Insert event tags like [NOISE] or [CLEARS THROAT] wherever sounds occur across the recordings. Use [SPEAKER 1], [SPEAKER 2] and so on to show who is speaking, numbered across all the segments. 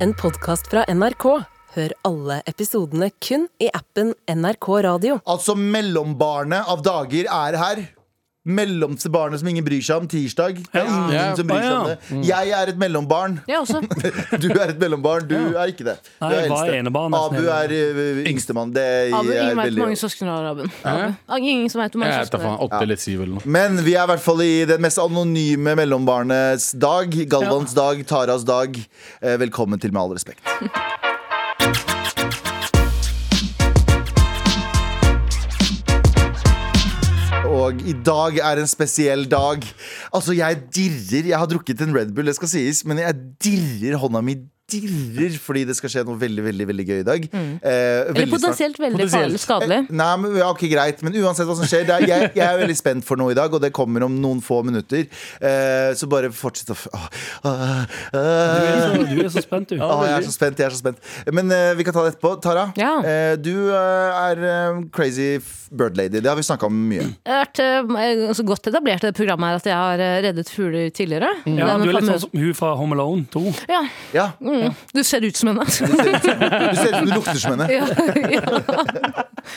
[SPEAKER 1] en podkast fra NRK. Hør alle episodene kun i appen NRK Radio.
[SPEAKER 2] Altså mellombarnet av dager er her. Mellomste barnet som ingen bryr seg om. Tirsdag. Det er ingen
[SPEAKER 3] Ja.
[SPEAKER 2] som bryr seg om
[SPEAKER 3] Ja. Mm.
[SPEAKER 2] det. Jeg er et mellombarn. [LAUGHS]
[SPEAKER 4] Jeg også.
[SPEAKER 2] Du er et mellombarn. Du er ikke det. Du
[SPEAKER 3] Nei,
[SPEAKER 2] er
[SPEAKER 3] jeg var enebarn, nesten
[SPEAKER 2] Abu er ø, yngstemann. Det
[SPEAKER 4] Abu,
[SPEAKER 2] er
[SPEAKER 4] ingen vet hvor
[SPEAKER 2] veldig
[SPEAKER 4] mange søsken du har, Abu.
[SPEAKER 3] Hæ?
[SPEAKER 4] Ah, Ingen som vet hvor mange
[SPEAKER 3] Jeg vet da
[SPEAKER 4] søsken du
[SPEAKER 3] faen.
[SPEAKER 4] har.
[SPEAKER 3] Åtte eller syv eller noe.
[SPEAKER 2] Men vi er i hvert fall i den mest anonyme mellombarnets dag. Galvans dag, Taras dag. Eh, Velkommen til Med all respekt. [LAUGHS] Og i dag er en spesiell dag. Altså, jeg dirrer. Jeg har drukket en Red Bull, det skal sies, men jeg dirrer hånda mi. Dirrer fordi det skal skje noe veldig veldig, veldig gøy i dag. Eh,
[SPEAKER 4] Mm. Eller
[SPEAKER 2] veldig snart.
[SPEAKER 4] potensielt veldig
[SPEAKER 3] Potensielt.
[SPEAKER 4] farlig skadelig.
[SPEAKER 2] Eh, Nei, men ja, ok, greit Men uansett hva som skjer det er, jeg, jeg er veldig spent for noe i dag Og det kommer om noen få minutter eh, Så bare fortsett å f- Åh, åh,
[SPEAKER 3] Du
[SPEAKER 2] åh.
[SPEAKER 3] er så, du er så spent, du.
[SPEAKER 2] Åh, jeg er så spent, jeg er så spent Men eh, vi kan ta det etterpå Tara,
[SPEAKER 4] Ja.
[SPEAKER 2] eh, du eh, er eh, crazy f- bird lady Det har vi snakket om mye
[SPEAKER 4] Jeg har vært eh, altså, godt etablert i det programmet her at jeg har eh, reddet fugler tidligere.
[SPEAKER 3] Ja,
[SPEAKER 4] Den
[SPEAKER 3] du er litt
[SPEAKER 4] famøse-
[SPEAKER 3] sånn som hun fra Home Alone 2.
[SPEAKER 4] ja.
[SPEAKER 2] Ja,
[SPEAKER 4] Mm. Du ser ut som henne.
[SPEAKER 2] du ser
[SPEAKER 3] [LAUGHS]
[SPEAKER 2] ut som- du ser ut som du lukter som henne
[SPEAKER 4] [LAUGHS] ja. ja.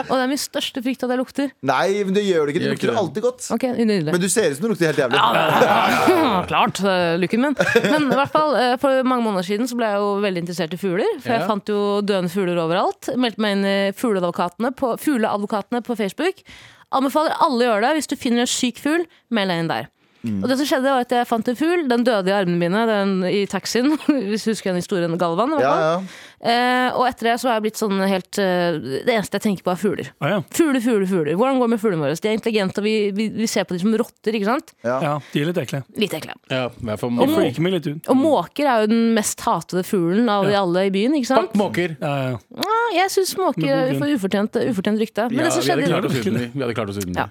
[SPEAKER 4] Og det er min største frykt at jeg lukter.
[SPEAKER 2] Nei, men det gjør du ikke, du
[SPEAKER 3] Gjør ikke
[SPEAKER 2] lukter
[SPEAKER 3] det.
[SPEAKER 2] alltid godt
[SPEAKER 4] Ok, nydelig.
[SPEAKER 2] Men du ser ut som du lukter helt jævlig
[SPEAKER 4] Ja, [LAUGHS] Klart, eh, looken min. Men i hvert fall, eh, for mange måneder siden så ble jeg jo veldig interessert i fugler. For jeg
[SPEAKER 3] Ja.
[SPEAKER 4] fant jo døende fugler overalt. Meldte meg inn i Fugleadvokatene på, fugleadvokatene på Facebook. Anbefaler alle å gjøre det. Hvis du finner en syk fugl, meld deg inn der. Og det som skjedde var at Jeg fant en fugl. Den døde i armene mine den, i taxien. [LAUGHS] Hvis du husker den historien Galvan. i hvert
[SPEAKER 2] Ja,
[SPEAKER 4] fall.
[SPEAKER 2] ja
[SPEAKER 4] Eh, og etter det så har jeg blitt sånn helt eh, Det eneste jeg tenker på, er fugler.
[SPEAKER 3] Ah, ja.
[SPEAKER 4] Fugler, fugler, fugler. Hvordan går det med fuglene våre? De er intelligente, og vi, vi, vi ser på dem som rotter. ikke sant?
[SPEAKER 3] ja, de er litt ekle.
[SPEAKER 4] Litt ekle.
[SPEAKER 3] Ja,
[SPEAKER 4] Og
[SPEAKER 3] De freaker meg litt ut.
[SPEAKER 4] Og måker er jo den mest hatede fuglen av de alle i byen. ikke sant?
[SPEAKER 5] Måker.
[SPEAKER 3] Ja, ja.
[SPEAKER 4] Ja, jeg syns måker
[SPEAKER 3] Med god grunn.
[SPEAKER 4] får ufortjent, ufortjent rykte. Men
[SPEAKER 5] Ja,
[SPEAKER 4] det som
[SPEAKER 5] vi hadde
[SPEAKER 4] skjedde
[SPEAKER 5] klart oss
[SPEAKER 3] Husker
[SPEAKER 5] uten de. Vi hadde klart oss uten de.
[SPEAKER 4] [LAUGHS] Ja.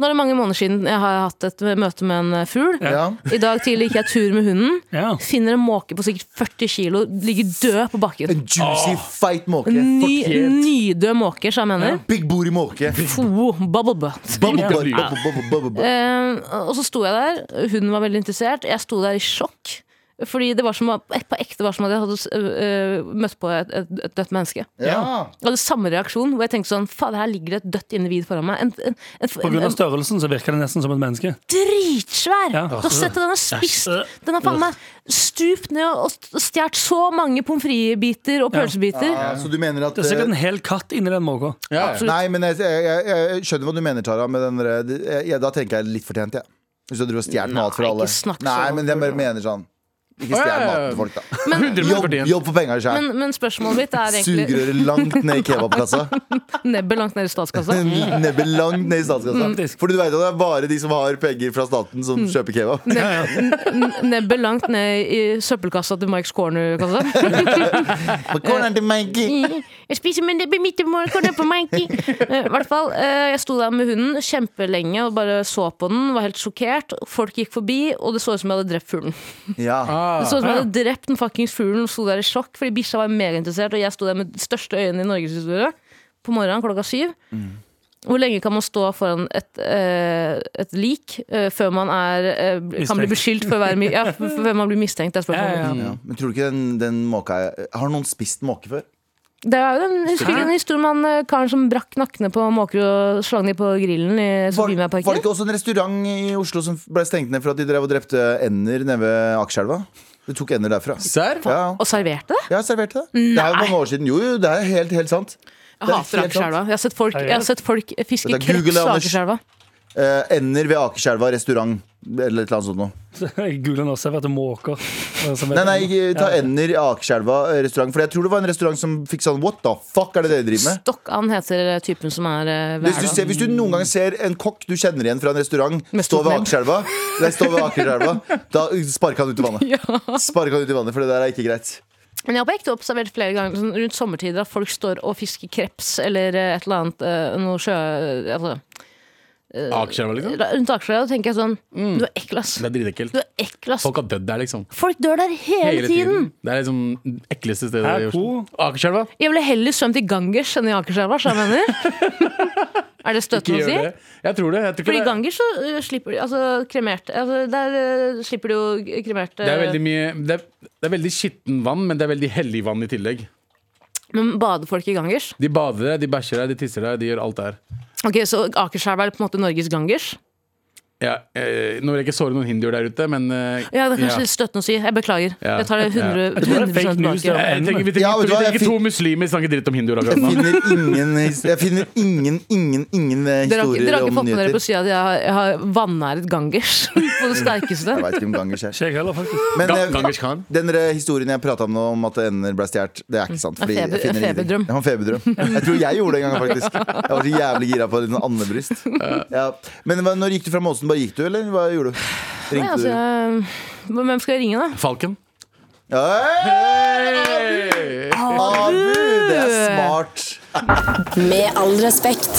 [SPEAKER 4] Nå er det mange måneder siden jeg har hatt et møte med en eh, fugl.
[SPEAKER 2] Ja.
[SPEAKER 4] I dag tidlig gikk jeg tur med hunden.
[SPEAKER 3] ja.
[SPEAKER 4] Finner en måke på sikkert 40 kilo, ligger død på bakken.
[SPEAKER 2] En juicy, feit måke
[SPEAKER 4] En ny,
[SPEAKER 5] fortjent.
[SPEAKER 4] nydød måke, som jeg mener.
[SPEAKER 2] Big booty måke
[SPEAKER 4] Fo, bubble butt.
[SPEAKER 2] Bubble,
[SPEAKER 5] Ja.
[SPEAKER 2] bubble, bubble, bubble, bubble.
[SPEAKER 4] Eh, og så sto jeg der, hun var veldig interessert. Jeg sto der i sjokk. Fordi det var som, å- på ekte var som at jeg hadde eh, møtt på et, et, et dødt menneske.
[SPEAKER 2] Ja.
[SPEAKER 4] Jeg hadde samme reaksjon, hvor jeg tenkte sånn Fader, her ligger det et dødt individ foran meg. En, en, en,
[SPEAKER 3] På grunn
[SPEAKER 4] en,
[SPEAKER 3] av
[SPEAKER 4] en
[SPEAKER 3] størrelsen så virker det nesten som et menneske.
[SPEAKER 4] dritsvær!
[SPEAKER 3] Ja.
[SPEAKER 4] Du har sett det, den er spist Den har faen meg stupt ned og og stjålet så mange pommes frites-biter og pølsebiter.
[SPEAKER 2] Ja, Så du mener at
[SPEAKER 3] Det er
[SPEAKER 2] eh,
[SPEAKER 3] sikkert en hel katt inni den måka. [LAUGHS]
[SPEAKER 5] Ja, ja.
[SPEAKER 2] Nei, men jeg, jeg, jeg, jeg skjønner hva du mener, Tara. Men den, der- det- jeg, da tenker jeg litt fortjent, jeg. Hvis du driver og stjeler mat fra
[SPEAKER 4] Nei,
[SPEAKER 2] alle.
[SPEAKER 4] ikke snakk sånn.
[SPEAKER 2] Nei, men jeg bare mener sånn. Ikke
[SPEAKER 5] Å, ja,
[SPEAKER 2] stjel
[SPEAKER 5] ja,
[SPEAKER 2] maten
[SPEAKER 5] ja.
[SPEAKER 2] til folk, da.
[SPEAKER 5] 100
[SPEAKER 2] Jobb,
[SPEAKER 5] fortjent.
[SPEAKER 2] jobb for penger sjøl.
[SPEAKER 4] Men, men spørsmålet mitt er egentlig
[SPEAKER 2] Sugerøret langt ned i kebabkassa.
[SPEAKER 4] [LAUGHS] nebbet langt ned i
[SPEAKER 3] [LAUGHS]
[SPEAKER 4] statskassa.
[SPEAKER 2] Nebbet langt ned i statskassa.
[SPEAKER 3] Faktisk.
[SPEAKER 2] Fordi du vet at det er bare de som har penger fra staten, som
[SPEAKER 4] Mm.
[SPEAKER 2] kjøper kebab.
[SPEAKER 4] [LAUGHS] Nebbet langt ned i søppelkassa til Mikes Corner-kassa.
[SPEAKER 2] På corneren til Mikey.
[SPEAKER 4] [LAUGHS] Jeg spiser, men det blir mitt mål, Corner på Mikey. Eh, I hvert fall, eh, jeg sto der med hunden kjempelenge og bare så på den, var helt sjokkert. Folk gikk forbi, og det så ut som jeg hadde drept fuglen.
[SPEAKER 2] Ja.
[SPEAKER 4] Det så ut som jeg hadde drept den fuckings fuglen og sto der i sjokk, fordi bikkja var megainteressert, og jeg sto der med de største øynene i norgeshistorie på morgenen klokka syv.
[SPEAKER 2] Mm.
[SPEAKER 4] Hvor lenge kan man stå foran et, eh, et lik eh, før man er, eh, kan bli
[SPEAKER 3] Mistenkt.
[SPEAKER 4] beskyldt for å være mi-
[SPEAKER 2] [LAUGHS]
[SPEAKER 4] ja, f- før man blir mistenkt? Det er spørsmålet.
[SPEAKER 3] Ja, ja,
[SPEAKER 2] Ja. Men tror du ikke den, den måka er- Har noen spist måke før?
[SPEAKER 4] Det er jo den, husker du den historien om han, eh, karen som brakk nakkene på måker og slang de på grillen i
[SPEAKER 2] Var, var det
[SPEAKER 4] Sofiemarken?
[SPEAKER 2] ikke også en restaurant i Oslo som ble stengt ned for at de drev og drepte ender nede ved Akerselva? Du tok ender derfra.
[SPEAKER 5] Serr?
[SPEAKER 2] Ja.
[SPEAKER 4] Og serverte det?
[SPEAKER 2] Jeg har servert det. Det er jo mange år siden. Jo, jo, det er helt, helt sant.
[SPEAKER 4] Jeg
[SPEAKER 2] Det er
[SPEAKER 4] hater
[SPEAKER 2] helt sant.
[SPEAKER 4] Akerselva. Jeg har sett folk, jeg har sett folk fiske
[SPEAKER 2] Dette er Google,
[SPEAKER 4] kreps av
[SPEAKER 2] Anders.
[SPEAKER 4] Akerselva.
[SPEAKER 2] Eh, ender ved Akerselva restaurant. Eller et eller annet sånt noe.
[SPEAKER 3] Gulen også har vært måker. eh, som
[SPEAKER 2] Nei,
[SPEAKER 3] vet-
[SPEAKER 2] nei, ikke ta Ender i Akerselva eh, restaurant. For jeg tror det var en restaurant som fikk sånn What the fuck er det dere driver med?
[SPEAKER 4] Stokkan heter eh, typen som er eh,
[SPEAKER 2] Hvis du,
[SPEAKER 4] hver
[SPEAKER 2] ser, hvis du noen gang ser en kokk du kjenner igjen fra en restaurant,
[SPEAKER 4] Med
[SPEAKER 2] stå
[SPEAKER 4] stort
[SPEAKER 2] ved
[SPEAKER 4] nebb.
[SPEAKER 2] Akerselva, nei, stå
[SPEAKER 4] [LAUGHS]
[SPEAKER 2] ved Akerselva da sparker han ut i vannet.
[SPEAKER 4] Ja.
[SPEAKER 2] Sparker han ut i vannet, For det der er ikke greit.
[SPEAKER 4] Men jeg har på ekte observert flere ganger sånn, rundt sommertider at folk står og fisker kreps eller eh, et eller annet eh, noe sjø... Altså,
[SPEAKER 5] Akerselva, liksom.
[SPEAKER 4] ra- rundt Akerselva og tenker jeg sånn Du er ekkel, ass.
[SPEAKER 5] Det er dritekkelt.
[SPEAKER 4] Du er ekkel, ass.
[SPEAKER 5] Mm. Folk har dødd der, liksom.
[SPEAKER 4] Folk dør der hele, tiden.
[SPEAKER 5] Det er liksom det ekleste stedet
[SPEAKER 3] Her,
[SPEAKER 5] i Oslo. Akerselva? [LAUGHS]
[SPEAKER 4] Jeg ville heller svømt i gangers enn i Akerselva, så jeg mener. Er det
[SPEAKER 5] Ikke
[SPEAKER 4] støtende å
[SPEAKER 5] gjør
[SPEAKER 4] si?
[SPEAKER 5] det. Jeg tror det. Jeg tror
[SPEAKER 4] Fordi
[SPEAKER 5] ikke det.
[SPEAKER 4] ganger så øh, slipper de altså, kremert altså, Der øh, slipper de jo kremert
[SPEAKER 5] Det er
[SPEAKER 4] øh,
[SPEAKER 5] veldig mye Det er, det er veldig skitten vann, men det er veldig hellig vann i tillegg.
[SPEAKER 4] eh, Men bader folk i gangers?
[SPEAKER 5] De bader deg, de bæsjer deg, de tisser deg, de gjør alt det her.
[SPEAKER 4] Ok, Så Akerselva er på en måte Norges gangers?
[SPEAKER 5] Ja, eh, nå vil jeg ikke såre noen hinduer der ute, men eh,
[SPEAKER 4] Ja, det er kanskje
[SPEAKER 5] ja.
[SPEAKER 4] litt støtende å si. Jeg beklager.
[SPEAKER 5] Ja.
[SPEAKER 4] Jeg tar det 100,
[SPEAKER 3] Jeg tror det er
[SPEAKER 4] 100
[SPEAKER 3] fake news,
[SPEAKER 4] tilbake.
[SPEAKER 3] ja.
[SPEAKER 5] Jeg trenger, vi trenger,
[SPEAKER 2] Ja, vet du hva,
[SPEAKER 5] vi trenger
[SPEAKER 2] jeg
[SPEAKER 5] ikke to muslimer snakke dritt om hinduer akkurat
[SPEAKER 2] Jeg
[SPEAKER 5] nå.
[SPEAKER 2] finner ingen, his- jeg finner ingen, ingen, ingen eh,
[SPEAKER 4] Dere har, ikke-
[SPEAKER 2] historier
[SPEAKER 4] dere har ikke
[SPEAKER 2] om
[SPEAKER 4] fått med dere på
[SPEAKER 2] nyheter.
[SPEAKER 4] sida at jeg har, jeg har vanæret gangers [LAUGHS]
[SPEAKER 2] [LAUGHS]
[SPEAKER 4] på det sterkeste?
[SPEAKER 2] Jeg vet ikke om ganger
[SPEAKER 5] [LAUGHS]
[SPEAKER 2] skjer.
[SPEAKER 3] Ikke jeg heller, faktisk.
[SPEAKER 2] Men
[SPEAKER 5] Ga-
[SPEAKER 2] eh,
[SPEAKER 5] Gangers Khan.
[SPEAKER 2] den der historien jeg prata om nå, om at ender ble stjålet, det er ikke sant. Fordi
[SPEAKER 4] feber-
[SPEAKER 2] jeg finner
[SPEAKER 4] Mm, en
[SPEAKER 2] ingenting.
[SPEAKER 4] feberdrøm.
[SPEAKER 2] Det var en feberdrøm. Jeg tror jeg gjorde det en gang, faktisk. Jeg var så jævlig gira på en liten andebryst. Ja. Men hva- når gikk du fra Måsen? Bare gikk du, eller hva gjorde du?
[SPEAKER 4] Nei,
[SPEAKER 2] Ringte du?
[SPEAKER 4] altså, jeg, men hvem skal jeg ringe, da?
[SPEAKER 5] Falken.
[SPEAKER 2] Hey!
[SPEAKER 5] Hey!
[SPEAKER 2] Abu! Det er smart.
[SPEAKER 1] Med all respekt.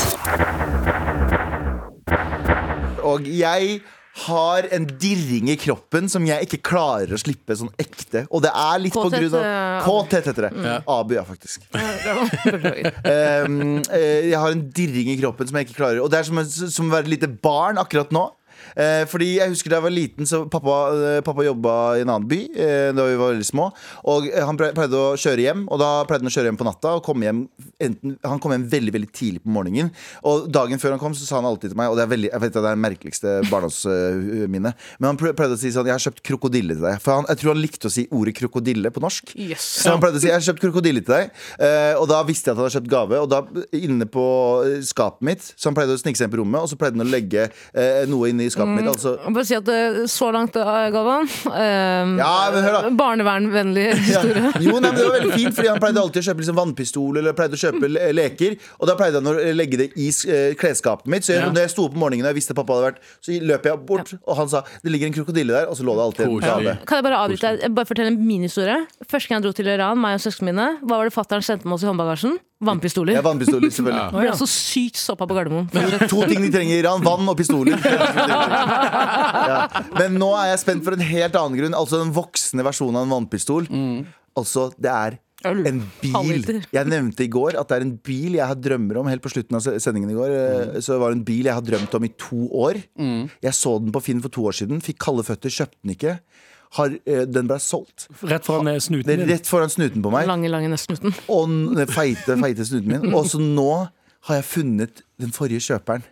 [SPEAKER 2] Og jeg har en dirring i kroppen som jeg ikke klarer å slippe sånn ekte. Og det er litt på
[SPEAKER 4] Kåthet,
[SPEAKER 2] grunn
[SPEAKER 4] eh,
[SPEAKER 2] av Kåthet heter det. Abu, ja, faktisk.
[SPEAKER 4] Beklager.
[SPEAKER 2] Um, eh, jeg har en dirring i kroppen som jeg ikke klarer. Og det er som, som å være et lite barn akkurat nå. Eh, fordi jeg husker Da jeg var liten, så pappa, eh, pappa jobba i en annen by eh, da vi var veldig små. Og eh, Han ple- pleide å kjøre hjem, og da pleide han å kjøre hjem på natta. Og komme hjem, enten, han kom hjem veldig veldig tidlig på morgenen. Og Dagen før han kom, så sa han alltid til meg Og det er, veldig, jeg vet, at det er det merkeligste barndomsminnet. Men han ple- pleide å si sånn Jeg har kjøpt krokodille til deg. For han, jeg tror han likte å si ordet krokodille på norsk.
[SPEAKER 4] Yes.
[SPEAKER 2] Så han pleide å si 'jeg har kjøpt krokodille til deg', eh, og da visste jeg at han hadde kjøpt gave. Og da inne på eh, skapet mitt, så han pleide å snike seg inn på rommet, og så pleide han å legge eh, noe inne i skapet
[SPEAKER 5] Mm.
[SPEAKER 2] mitt. Altså
[SPEAKER 4] Jeg må bare si at eh, så langt, eh, Galvan eh,
[SPEAKER 2] Ja, men hør da.
[SPEAKER 4] Barnevernvennlig
[SPEAKER 2] [LAUGHS] ja.
[SPEAKER 4] historie.
[SPEAKER 2] Jo, nei, men det var veldig fint, Fordi han pleide alltid å kjøpe liksom vannpistol eller pleide å kjøpe le- leker. Og da pleide han å legge det i s- eh, klesskapet mitt. Så jeg,
[SPEAKER 5] Ja.
[SPEAKER 2] når jeg sto opp om morgenen og jeg visste pappa hadde vært, så løp jeg bort, og han sa 'det ligger en krokodille der', og så lå det alltid en
[SPEAKER 5] Koselig.
[SPEAKER 2] gave.
[SPEAKER 4] Kan jeg bare avbryte deg? Jeg Bare fortelle en minihistorie. Første gang jeg dro til Iran, meg og søsknene mine, hva var det fatter'n sendte med oss i håndbagasjen?
[SPEAKER 2] Ja,
[SPEAKER 4] Vannpistoler.
[SPEAKER 2] vannpistoler, selvfølgelig.
[SPEAKER 4] Vi ble så sykt stoppa på Gardermoen.
[SPEAKER 2] To ting de trenger i Iran. Vann og
[SPEAKER 4] [LAUGHS]
[SPEAKER 2] pistoler. ja. Men nå er jeg spent for en helt annen grunn. Altså den voksne versjonen av en vannpistol. Altså, det er
[SPEAKER 4] Mm. Øl.
[SPEAKER 2] en bil.
[SPEAKER 4] Halvliter.
[SPEAKER 2] Jeg nevnte i går at det er en bil jeg har drømmer om. Helt på slutten av se- sendingen i går
[SPEAKER 4] Mm.
[SPEAKER 2] eh, Så var det en bil jeg har drømt om i to år. Jeg så den på Finn for to år siden. Fikk kalde føtter, kjøpte den ikke. Har, eh, den ble solgt.
[SPEAKER 3] Rett foran eh,
[SPEAKER 2] Det
[SPEAKER 3] snuten
[SPEAKER 2] er
[SPEAKER 3] din.
[SPEAKER 2] rett foran snuten på meg.
[SPEAKER 4] Lange, lange nesten uten.
[SPEAKER 2] Og den feite, feite snuten min. Og så nå har jeg funnet den forrige kjøperen.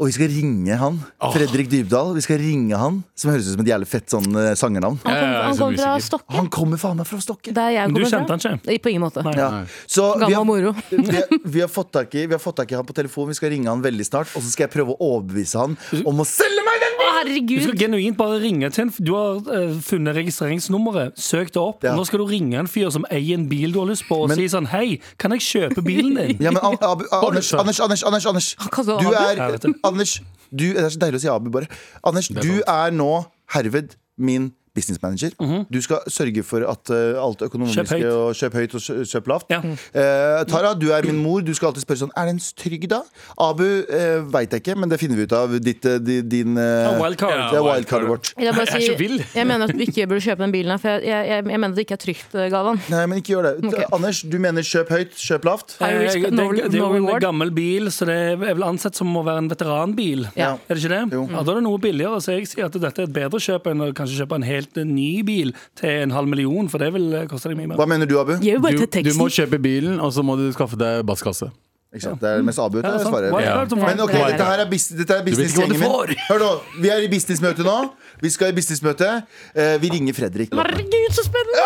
[SPEAKER 2] Og vi skal ringe han. Fredrik Dybdahl. Vi skal ringe han Som høres ut som et jævlig fett sånn eh, sangernavn.
[SPEAKER 5] Ja,
[SPEAKER 4] Han
[SPEAKER 5] ja,
[SPEAKER 4] kom,
[SPEAKER 5] jeg er
[SPEAKER 4] han
[SPEAKER 5] så
[SPEAKER 4] kom fra
[SPEAKER 5] usikker.
[SPEAKER 4] Stokke,
[SPEAKER 2] Han kommer faen meg fra Stokke.
[SPEAKER 4] der jeg
[SPEAKER 3] Men du
[SPEAKER 4] kommer
[SPEAKER 3] kjente
[SPEAKER 4] fra.
[SPEAKER 3] han ikke?
[SPEAKER 4] Nei, På ingen måte.
[SPEAKER 3] Nei.
[SPEAKER 2] Ja. Så vi
[SPEAKER 4] Gammel
[SPEAKER 2] har,
[SPEAKER 4] moro.
[SPEAKER 2] [LAUGHS] vi, har, vi, har fått tak i, vi har fått tak i han på telefon. Vi skal ringe han veldig snart. Og så skal jeg prøve å overbevise han om å selge meg den!
[SPEAKER 4] Å,
[SPEAKER 3] Du skal
[SPEAKER 4] herregud!
[SPEAKER 3] genuint bare ringe til en f- Du har eh, funnet registreringsnummeret, søk det opp.
[SPEAKER 2] Ja.
[SPEAKER 3] Nå skal du ringe en fyr som eier en bil du har lyst på, og
[SPEAKER 2] Men-
[SPEAKER 3] si sånn Hei, kan jeg kjøpe bilen
[SPEAKER 2] [LAUGHS]
[SPEAKER 3] din?
[SPEAKER 2] Ja, men Ab
[SPEAKER 3] [LAUGHS]
[SPEAKER 2] Ab Anders, Anders, Anders, Anders, Anders.
[SPEAKER 4] kaller
[SPEAKER 2] Du
[SPEAKER 4] Abu.
[SPEAKER 3] Jeg
[SPEAKER 2] er
[SPEAKER 3] vet det.
[SPEAKER 2] Anders, du, det er så deilig å si Abu, bare. Anders, du er nå herved min businessmanager. Du skal sørge for at eh, alt økonomiske
[SPEAKER 3] Mhm. Kjøp høyt.
[SPEAKER 2] og kjøp høyt og kjø- kjøp lavt.
[SPEAKER 3] Ja.
[SPEAKER 2] Eh, Tara, du er min mor. Du skal alltid spørre sånn Er den trygg, da? Abu uh, veit jeg ikke, men det finner vi ut av. Ditt, eh, di- din eh,
[SPEAKER 3] Ja, wildcard.
[SPEAKER 2] Det er wildcardet vårt.
[SPEAKER 4] Jeg, vil bare
[SPEAKER 5] Jeg er så
[SPEAKER 4] si,
[SPEAKER 5] vill.
[SPEAKER 4] jeg mener at vi ikke burde kjøpe den bilen her, for jeg, jeg, jeg, jeg mener det ikke er trygt, eh, Galvan.
[SPEAKER 2] Nei, men ikke gjør det.
[SPEAKER 4] Ok.
[SPEAKER 2] Anders, du mener kjøp høyt, kjøp lavt?
[SPEAKER 4] High risk,
[SPEAKER 3] Eh, det,
[SPEAKER 4] no-
[SPEAKER 3] det, det er
[SPEAKER 4] no
[SPEAKER 3] jo en
[SPEAKER 4] reward.
[SPEAKER 3] gammel bil, så det er vel ansett som å være en veteranbil.
[SPEAKER 4] Ja.
[SPEAKER 3] Er det ikke det?
[SPEAKER 2] Jo.
[SPEAKER 3] Ja, da er det noe billigere, så jeg sier at dette er et bedre kjøp enn å kanskje kjøpe en helt ny bil til en halv million, for det vil eh, koste deg mye mer.
[SPEAKER 2] Hva mener du, Abu?
[SPEAKER 1] Jeg vil
[SPEAKER 5] Du,
[SPEAKER 1] bare ta
[SPEAKER 5] du må
[SPEAKER 1] teksten.
[SPEAKER 5] kjøpe bilen, og så må du skaffe deg basskasse.
[SPEAKER 2] Ikke sant? Det er mest Abu. Ja,
[SPEAKER 3] Ja, det er sant.
[SPEAKER 2] svarer.
[SPEAKER 3] Wildcard som
[SPEAKER 2] Men
[SPEAKER 3] faen.
[SPEAKER 2] ok,
[SPEAKER 4] Det er
[SPEAKER 2] dette her er, bus dette er
[SPEAKER 5] vet ikke hva du
[SPEAKER 2] businessgjengen min. Hør nå, Vi er i businessmøte nå. Vi skal i businessmøte. Eh, vi ringer Fredrik.
[SPEAKER 4] Herregud, så spennende!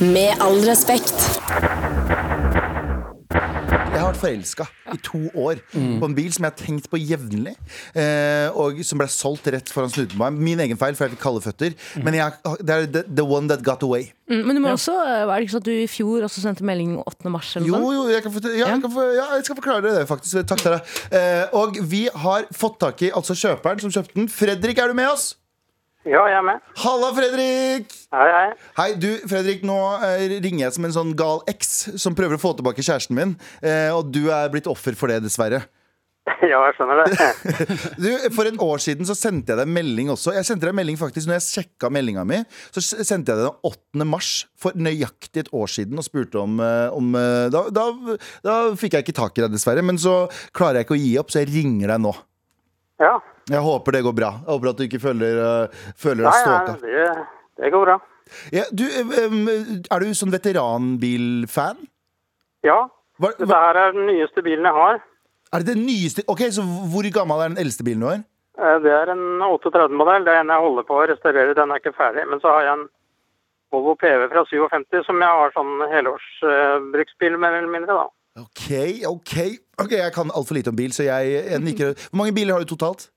[SPEAKER 1] Med all respekt.
[SPEAKER 2] Jeg har vært forelska i to år
[SPEAKER 3] Mm.
[SPEAKER 2] på en bil som jeg har tenkt på jevnlig. Eh, og som ble solgt rett foran snuten på meg. Min egen feil, for jeg fikk kalde føtter.
[SPEAKER 3] Mm.
[SPEAKER 2] Men jeg, det er the, the one that got away.
[SPEAKER 4] Mm, Men du må også, eh, er det ikke sånn at du i fjor også sendte melding 8. mars? Eller
[SPEAKER 2] Jo,
[SPEAKER 3] Mm-hmm.
[SPEAKER 4] noe sånt?
[SPEAKER 2] jo, jeg, kan fortelle, ja, jeg, kan for, ja, jeg skal forklare dere det, faktisk. Takk til deg. Eh, og vi har fått tak i altså kjøperen som kjøpte den. Fredrik, er du med oss?
[SPEAKER 6] Ja, jeg er med.
[SPEAKER 2] Halla, Fredrik!
[SPEAKER 6] Hei, [LAUGHS] hei.
[SPEAKER 2] Hei, du, Fredrik, nå eh, ringer jeg som en sånn gal eks som prøver å få tilbake kjæresten min. Eh, og du er blitt offer for det, dessverre.
[SPEAKER 6] ja, jeg skjønner
[SPEAKER 2] [LAUGHS]
[SPEAKER 6] det.
[SPEAKER 2] Du, For et år siden så sendte jeg deg en melding også. Jeg sendte deg en melding faktisk Når jeg sjekka meldinga mi, så s- sendte jeg deg den 8. mars for nøyaktig et år siden og spurte om, eh, om eh, da, da, da fikk jeg ikke tak i deg, dessverre. Men så klarer jeg ikke å gi opp, så jeg ringer deg nå.
[SPEAKER 6] Ja.
[SPEAKER 2] Jeg håper det går bra. Jeg håper at du ikke føler, eh, føler
[SPEAKER 6] Nei,
[SPEAKER 2] deg
[SPEAKER 6] nei,
[SPEAKER 2] stalka.
[SPEAKER 6] det, det går bra.
[SPEAKER 2] Ja, du, eh, em, er du sånn veteranbilfan?
[SPEAKER 6] Ja.
[SPEAKER 2] Hva,
[SPEAKER 6] Dette
[SPEAKER 2] hva,
[SPEAKER 6] her er den nyeste bilen jeg har.
[SPEAKER 2] er det den nyeste Ok, så Hvor gammel er den eldste bilen du har?
[SPEAKER 6] Eh, Det er en 38-modell. Det er en jeg holder på å restaurere. Den er ikke ferdig. Men så har jeg en Volvo PV fra 57 som jeg har sånn helårsbruksbil, mer eller mindre. da.
[SPEAKER 2] Ok, ok Ok, Jeg kan altfor lite om bil, så jeg, jeg nikker. Hvor mange biler har du totalt?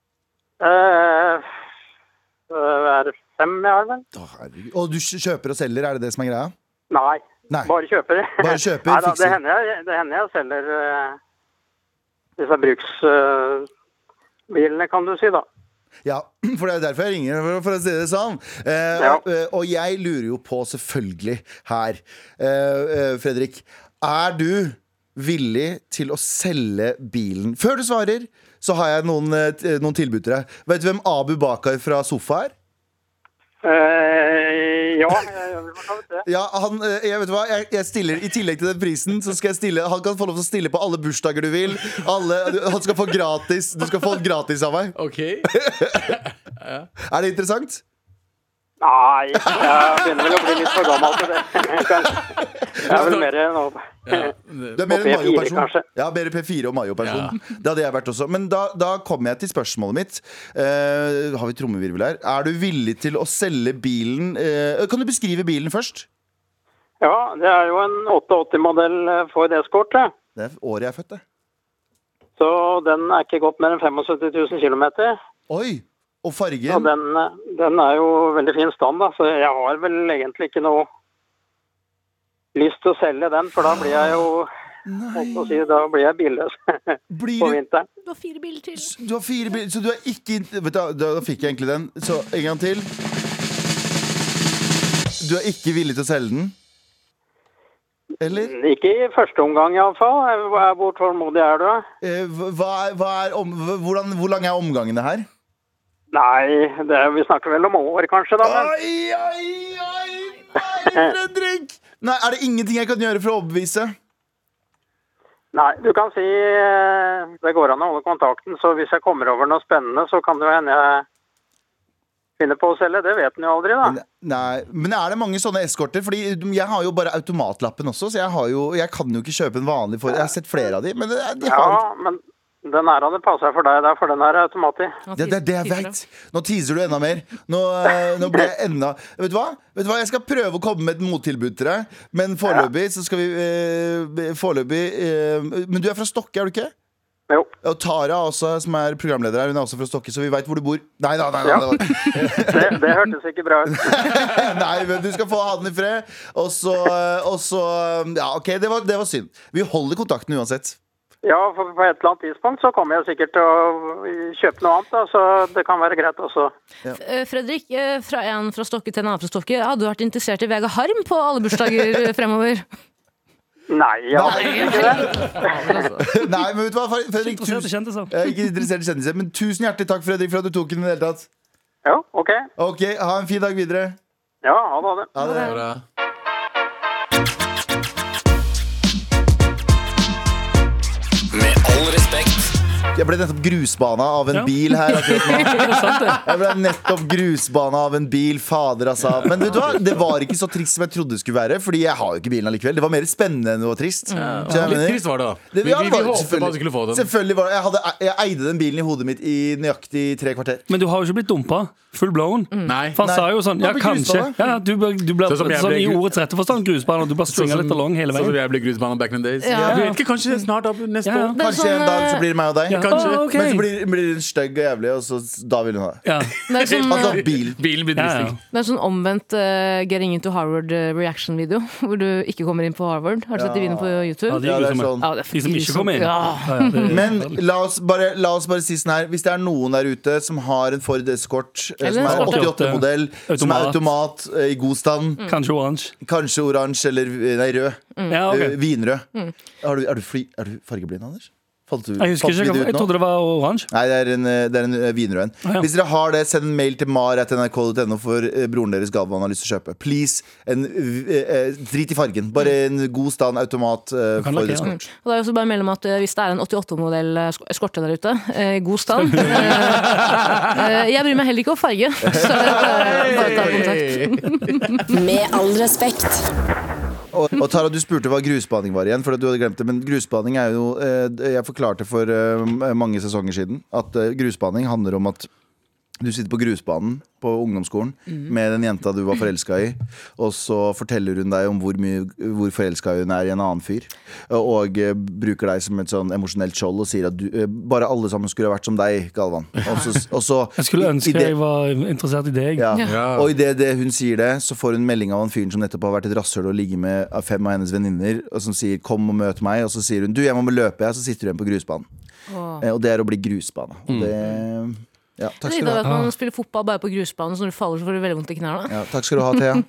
[SPEAKER 6] Eh, Det er fem jeg har, vel?
[SPEAKER 2] Å, herregud. Og du kj- kjøper og selger, er det det som er greia?
[SPEAKER 6] Nei.
[SPEAKER 2] Nei.
[SPEAKER 6] Bare kjøper.
[SPEAKER 2] Bare kjøper,
[SPEAKER 6] [LAUGHS] Neida,
[SPEAKER 2] fikser.
[SPEAKER 6] Det hender jeg, det hender jeg selger eh, disse bruksbilene, kan du si, da.
[SPEAKER 2] Ja, [CLEARS THROAT] for det er derfor jeg ringer, for- for å si det sånn. Eh,
[SPEAKER 6] Ja.
[SPEAKER 2] eh, og jeg lurer jo på, selvfølgelig, her, eh, eh, Fredrik Er du villig til å selge bilen? Før du svarer, så har jeg noen, eh, t- noen tilbud til deg. Vet du hvem Abu Bakar fra Sofa er?
[SPEAKER 6] Eh, ja, jeg vil for så vidt det.
[SPEAKER 2] Ja, han, eh, jeg vet hva, jeg, jeg stiller I tillegg til den prisen, så skal jeg stille Han kan få lov til å stille på alle bursdager du vil. Alle, du- han skal få gratis Du skal få gratis av meg.
[SPEAKER 5] OK.
[SPEAKER 2] Er det interessant?
[SPEAKER 6] Nei, jeg begynner vel å bli litt for gammel til det. [LAUGHS] Kanskje. Jeg er vel mer nå.
[SPEAKER 5] Ja, det-
[SPEAKER 2] Du er mer en
[SPEAKER 6] Og P4
[SPEAKER 2] Mayo-person.
[SPEAKER 6] kanskje.
[SPEAKER 2] Ja, mer P4 og Mayo-person. Det hadde jeg vært også. Men da, da kommer jeg til spørsmålet mitt. Eh, har vi trommevirvel her? Er du villig til å selge bilen eh, Kan du beskrive bilen først?
[SPEAKER 6] [LAUGHS] Ja, det er jo en 88-modell Ford Escort. det.
[SPEAKER 2] Det er året jeg er født, det.
[SPEAKER 6] Så den er ikke gått mer enn 75 000 km.
[SPEAKER 2] Oi! Og
[SPEAKER 6] Og
[SPEAKER 2] fargen.
[SPEAKER 6] den, eh, den er jo veldig fin stand, da, så jeg har vel egentlig ikke noe lyst til å selge den, for da blir jeg jo holdt på å si, da blir jeg billøs [LAUGHS] på
[SPEAKER 2] Blir du
[SPEAKER 6] vinteren.
[SPEAKER 4] Du har fire biler til.
[SPEAKER 2] Du har fire bil, så du er ikke int- Vet du, hva, da, da fikk jeg egentlig den. Så en gang til. Du er ikke villig til å selge den? Eller?
[SPEAKER 6] Ikke i første omgang iallfall. Hvor tålmodig er du? da?
[SPEAKER 2] Eh, hva, er- hva er om, hvordan, hvor lang er omgangene her?
[SPEAKER 6] Nei, det, er- vi snakker vel om år kanskje, da. Men
[SPEAKER 2] Oi, oi, oi! Nei, Fredrik! Nei, er det ingenting jeg kan gjøre for å overbevise?
[SPEAKER 6] nei, du kan si eh, det går an å holde kontakten, så hvis jeg kommer over noe spennende, så kan det jo hende jeg finner på å selge. Det vet en jo aldri, da.
[SPEAKER 2] Nei, Men er det mange sånne eskorter? Fordi jeg har jo bare automatlappen også, så jeg, har jo, jeg kan jo ikke kjøpe en vanlig for Jeg har sett flere av de, men det- de har
[SPEAKER 6] Ja, men den her hadde passa for deg der, for den her er automatisk.
[SPEAKER 2] Det, det er det jeg vet. Nå teaser du enda mer. Nå, eh, nå blir jeg enda Vet du hva? Vet du hva? Jeg skal prøve å komme med et mottilbud til deg, men foreløpig så skal vi eh, Foreløpig eh, Men du er fra Stokke, er du ikke?
[SPEAKER 6] Jo.
[SPEAKER 2] Og Tara også, som er programleder her, hun er også fra Stokke, så vi veit hvor du bor. Nei da, [LAUGHS] nei, nei,
[SPEAKER 6] Ja.
[SPEAKER 2] det var-
[SPEAKER 6] Det, det hørtes ikke bra ut.
[SPEAKER 2] nei, men du skal få ha den i fred. Og så, eh, og så Ja, OK, det var, det var synd. Vi holder kontakten uansett.
[SPEAKER 6] Ja, for på et eller annet tidspunkt så kommer jeg sikkert til å kjøpe noe annet, da, så det kan være greit også.
[SPEAKER 4] Eh, Fredrik, eh, fra en fra Stokke til en annen fra Stokke, hadde du vært interessert i Vega Harm på alle bursdager eh, fremover?
[SPEAKER 6] Nei, ja.
[SPEAKER 2] Nei, men vet du hva, Fredrik?
[SPEAKER 3] Interesserte
[SPEAKER 2] Tusen,
[SPEAKER 3] kjendiser.
[SPEAKER 2] jeg er ikke interessert i kjendiser, men tusen hjertelig takk, Fredrik, for at du tok den i det hele tatt.
[SPEAKER 6] Jo, ok.
[SPEAKER 2] Ok, ha en fin dag videre.
[SPEAKER 6] Ja, ha det, ha det.
[SPEAKER 2] Ha det.
[SPEAKER 5] Bra.
[SPEAKER 7] Med all respekt.
[SPEAKER 2] Jeg ble nettopp grusbana av en
[SPEAKER 3] Ja.
[SPEAKER 2] bil her. akkurat nå.
[SPEAKER 3] Interessant, det.
[SPEAKER 2] Jeg ble nettopp grusbana av en bil. Fader, altså. Men vet du hva? det var ikke så trist som jeg trodde det skulle være. Fordi jeg har jo ikke bilen allikevel. Det var mer spennende enn det var trist. Så jeg
[SPEAKER 5] Litt
[SPEAKER 2] mener-
[SPEAKER 5] trist var det, da. Vi,
[SPEAKER 2] Det-
[SPEAKER 5] vi,
[SPEAKER 2] ja,
[SPEAKER 5] vi,
[SPEAKER 2] det var-
[SPEAKER 5] håpet man
[SPEAKER 2] selvfølgelig-
[SPEAKER 5] skulle få den.
[SPEAKER 2] Selvfølgelig var det jeg, hadde, jeg eide den bilen i hodet mitt i nøyaktig tre kvarter.
[SPEAKER 3] Men du har jo ikke blitt dumpa. Full blown.
[SPEAKER 5] Mm. Nei.
[SPEAKER 3] For
[SPEAKER 2] Nei.
[SPEAKER 3] han sa jo sånn
[SPEAKER 2] Nå
[SPEAKER 3] Ja,
[SPEAKER 2] blir
[SPEAKER 3] kanskje.
[SPEAKER 2] grusbane.
[SPEAKER 3] Ja, du blir, du blir
[SPEAKER 5] Sånn som
[SPEAKER 3] sånn,
[SPEAKER 5] jeg ble
[SPEAKER 3] i
[SPEAKER 5] gru-
[SPEAKER 3] ordets rette forstand grusbane, og du bare svinger litt along hele
[SPEAKER 5] Sånn som
[SPEAKER 3] veien.
[SPEAKER 5] jeg ble grusmann back in the days.
[SPEAKER 4] Ja.
[SPEAKER 5] Du vet ikke, kanskje snart da, neste
[SPEAKER 3] Ja, ja.
[SPEAKER 5] år.
[SPEAKER 4] Det er
[SPEAKER 2] Kanskje
[SPEAKER 4] sånn,
[SPEAKER 2] en dag så
[SPEAKER 4] eh,
[SPEAKER 2] blir det meg og deg.
[SPEAKER 3] Ja.
[SPEAKER 5] Kanskje.
[SPEAKER 3] Å, ok.
[SPEAKER 2] Men så blir, blir den stygg og jævlig, og så da vil hun ha det.
[SPEAKER 3] Ja.
[SPEAKER 4] Det er sånn,
[SPEAKER 2] Altså
[SPEAKER 4] eh,
[SPEAKER 2] bilen.
[SPEAKER 5] Bilen blir
[SPEAKER 3] Ja,
[SPEAKER 5] dristig.
[SPEAKER 3] ja.
[SPEAKER 4] det er sånn omvendt uh, Getting into Harvard eh, reaction-video, [LAUGHS] hvor du ikke kommer inn på Harvard. Har du sett de videoene på YouTube?
[SPEAKER 3] Ja, de
[SPEAKER 2] Ja, det er
[SPEAKER 3] grusomme.
[SPEAKER 2] sånn.
[SPEAKER 4] Ja, det er
[SPEAKER 3] De som ikke kom inn.
[SPEAKER 4] Ja.
[SPEAKER 3] Ja, ja, det-
[SPEAKER 2] Men la oss, bare, la oss bare si sånn her Hvis det er noen der ute som har en Ford Escort eh, Som
[SPEAKER 4] Eller en
[SPEAKER 2] er
[SPEAKER 4] Escort, Mm.
[SPEAKER 2] 88-modell Som er automat eh, i god stand
[SPEAKER 3] Kanskje oransje.
[SPEAKER 2] Kanskje oransje eller eh, nei, rød
[SPEAKER 5] Mm.
[SPEAKER 3] Ja,
[SPEAKER 2] Eh,
[SPEAKER 3] ok.
[SPEAKER 4] Mm.
[SPEAKER 2] Vinrød er, du, er, du fly, er du fargeblind, Anders? Falt, du,
[SPEAKER 3] Jeg husker
[SPEAKER 2] falt
[SPEAKER 3] ikke,
[SPEAKER 2] vi
[SPEAKER 3] hva-
[SPEAKER 2] det
[SPEAKER 3] jeg
[SPEAKER 2] ut nå?
[SPEAKER 3] trodde det var oransje.
[SPEAKER 2] Nei, det er en, eh, det er en eh, vinrød en.
[SPEAKER 3] ja.
[SPEAKER 2] Hvis dere har det, send en mail til mar.nrk.no for eh, broren deres gave han har lyst til å kjøpe. Please. En, eh, eh, drit i fargen. Bare en god stand automat eh,
[SPEAKER 3] Mm. kan
[SPEAKER 2] for
[SPEAKER 3] lakkere den.
[SPEAKER 2] eskort.
[SPEAKER 4] Og da er jeg også bare mellom at eh, Hvis det er en 88-modell eh, sk- eskorte der ute, eh, i god stand eh, eh, Jeg bryr meg heller ikke om farge, så eh, bare ta kontakt.
[SPEAKER 8] Med all respekt.
[SPEAKER 2] Og, og Tara, du spurte hva grusbaning var igjen, for at du hadde glemt det. Men grusbaning er jo eh, Jeg forklarte for eh, mange sesonger siden at eh, grusbaning handler om at du sitter på grusbanen på ungdomsskolen med den jenta du var forelska i, og så forteller hun deg om hvor, mye- hvor forelska hun er i en annen fyr, og eh, bruker deg som et sånn emosjonelt skjold og sier at du, eh, bare alle sammen skulle ha vært som deg, Galvan. Og så, og så,
[SPEAKER 3] Jeg skulle
[SPEAKER 2] i
[SPEAKER 3] ønske
[SPEAKER 2] det-
[SPEAKER 3] jeg var interessert i deg.
[SPEAKER 2] ja.
[SPEAKER 5] Ja.
[SPEAKER 2] Og idet det hun sier det, så får hun melding av han fyren som nettopp har vært et rasshøl og ligget med fem av hennes venninner, og som sier 'kom og møt meg', og så sier hun 'du, jeg må løpe', jeg, og så sitter du igjen på grusbanen. Eh, Og det er å bli grusbane.
[SPEAKER 3] Mm.
[SPEAKER 2] Og det Ja, takk skal
[SPEAKER 4] Det er litt
[SPEAKER 2] du
[SPEAKER 4] av
[SPEAKER 2] ha.
[SPEAKER 4] at man spiller fotball bare på grusbanen, så når du faller, så får du veldig vondt i knærne.
[SPEAKER 2] Ja, takk skal du ha,
[SPEAKER 3] [LAUGHS]
[SPEAKER 2] Thea.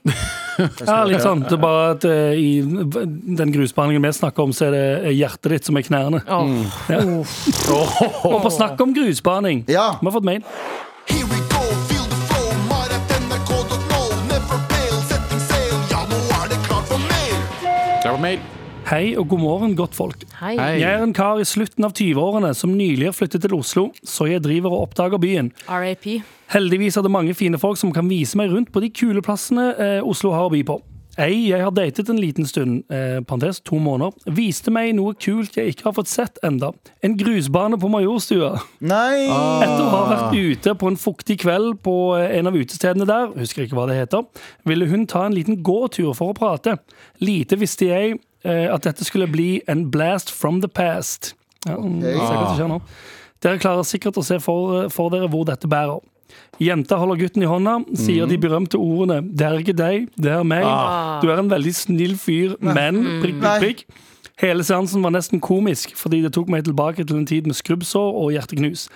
[SPEAKER 3] Ja, litt sånn. Det er bare at eh, i den grusbehandlingen vi snakker om, så er det hjertet ditt som er knærne.
[SPEAKER 4] Mm.
[SPEAKER 3] Ja. Og på snakk om grusbaning.
[SPEAKER 2] Ja.
[SPEAKER 3] Vi har fått mail.
[SPEAKER 9] Here we go, feel the flow, mar at nrk.no. Never fail, setting sail, ja nå er det klart for mer.
[SPEAKER 5] Det var mail.
[SPEAKER 3] Hei og god morgen, godt folk.
[SPEAKER 4] Hei.
[SPEAKER 5] Hei.
[SPEAKER 3] Jeg er en kar i slutten av 20-årene som nylig har flyttet til Oslo, så jeg driver og oppdager byen.
[SPEAKER 4] RAP.
[SPEAKER 3] Heldigvis er det mange fine folk som kan vise meg rundt på de kule plassene eh, Oslo har å by på. Ei jeg har datet en liten stund, eh, parentes to måneder, viste meg noe kult jeg ikke har fått sett enda. En grusbane på Majorstua.
[SPEAKER 2] Nei!
[SPEAKER 3] Etter å ha vært ute på en fuktig kveld på eh, en av utestedene der, husker ikke hva det heter, ville hun ta en liten gåtur for å prate. Lite visste jeg eh, at dette skulle bli en blast from the past. Ja, mm, ser hva som skjer nå. Dere klarer sikkert å se for, for dere hvor dette bærer. Jenta holder gutten i hånda,
[SPEAKER 2] Mhm.
[SPEAKER 3] sier de berømte ordene 'Det er ikke deg, det er meg'. Du er en veldig snill fyr, men prikk,
[SPEAKER 2] Ah. Nei.
[SPEAKER 3] prikk, prikk. Hele seansen var nesten komisk, fordi det tok meg tilbake til en tid med skrubbsår og hjerteknus.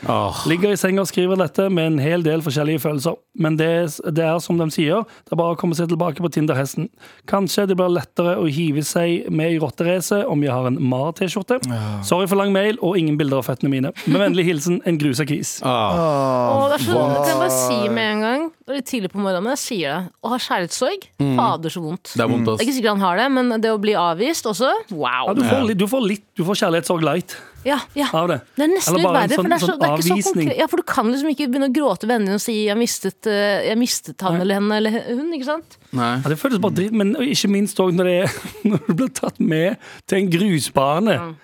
[SPEAKER 3] Ligger i senga og skriver dette med en hel del forskjellige følelser. Men det, det er som de sier, det er bare å komme seg tilbake på Tinder-hesten. Kanskje det blir lettere å hive seg med i rotteracet om jeg har en Mar-T-skjorte. Sorry for lang mail og ingen bilder av føttene mine. Med vennlig hilsen en grusa kis.
[SPEAKER 4] Åh, det er så, det kan jeg bare si med en gang. Det er litt tidlig på morgenen, men jeg sier det. Å ha kjærlighetssorg, fader så vondt.
[SPEAKER 5] Mm. Det er vondt,
[SPEAKER 4] Det er ikke
[SPEAKER 5] ass.
[SPEAKER 4] sikkert han har det, men det å bli avvist også, wow.
[SPEAKER 3] Ja, du, får, litt- du får litt Du får kjærlighetssorg light
[SPEAKER 4] Ja, ja.
[SPEAKER 3] av det.
[SPEAKER 4] Det er nesten
[SPEAKER 3] Eller
[SPEAKER 4] litt
[SPEAKER 3] bare en
[SPEAKER 4] verre, for
[SPEAKER 3] sånn-
[SPEAKER 4] det er, så,
[SPEAKER 3] sånn
[SPEAKER 4] det er ikke så
[SPEAKER 3] avvisning.
[SPEAKER 4] konkret. Ja, for du kan liksom ikke begynne å gråte til vennene dine og si 'jeg mistet, eh, jeg mistet han eller henne eller hun'. ikke sant?
[SPEAKER 5] Nei.
[SPEAKER 3] Ja, det føles bare dritt, men ikke minst òg når, det er- [LAUGHS] når du blir tatt med til en grusbane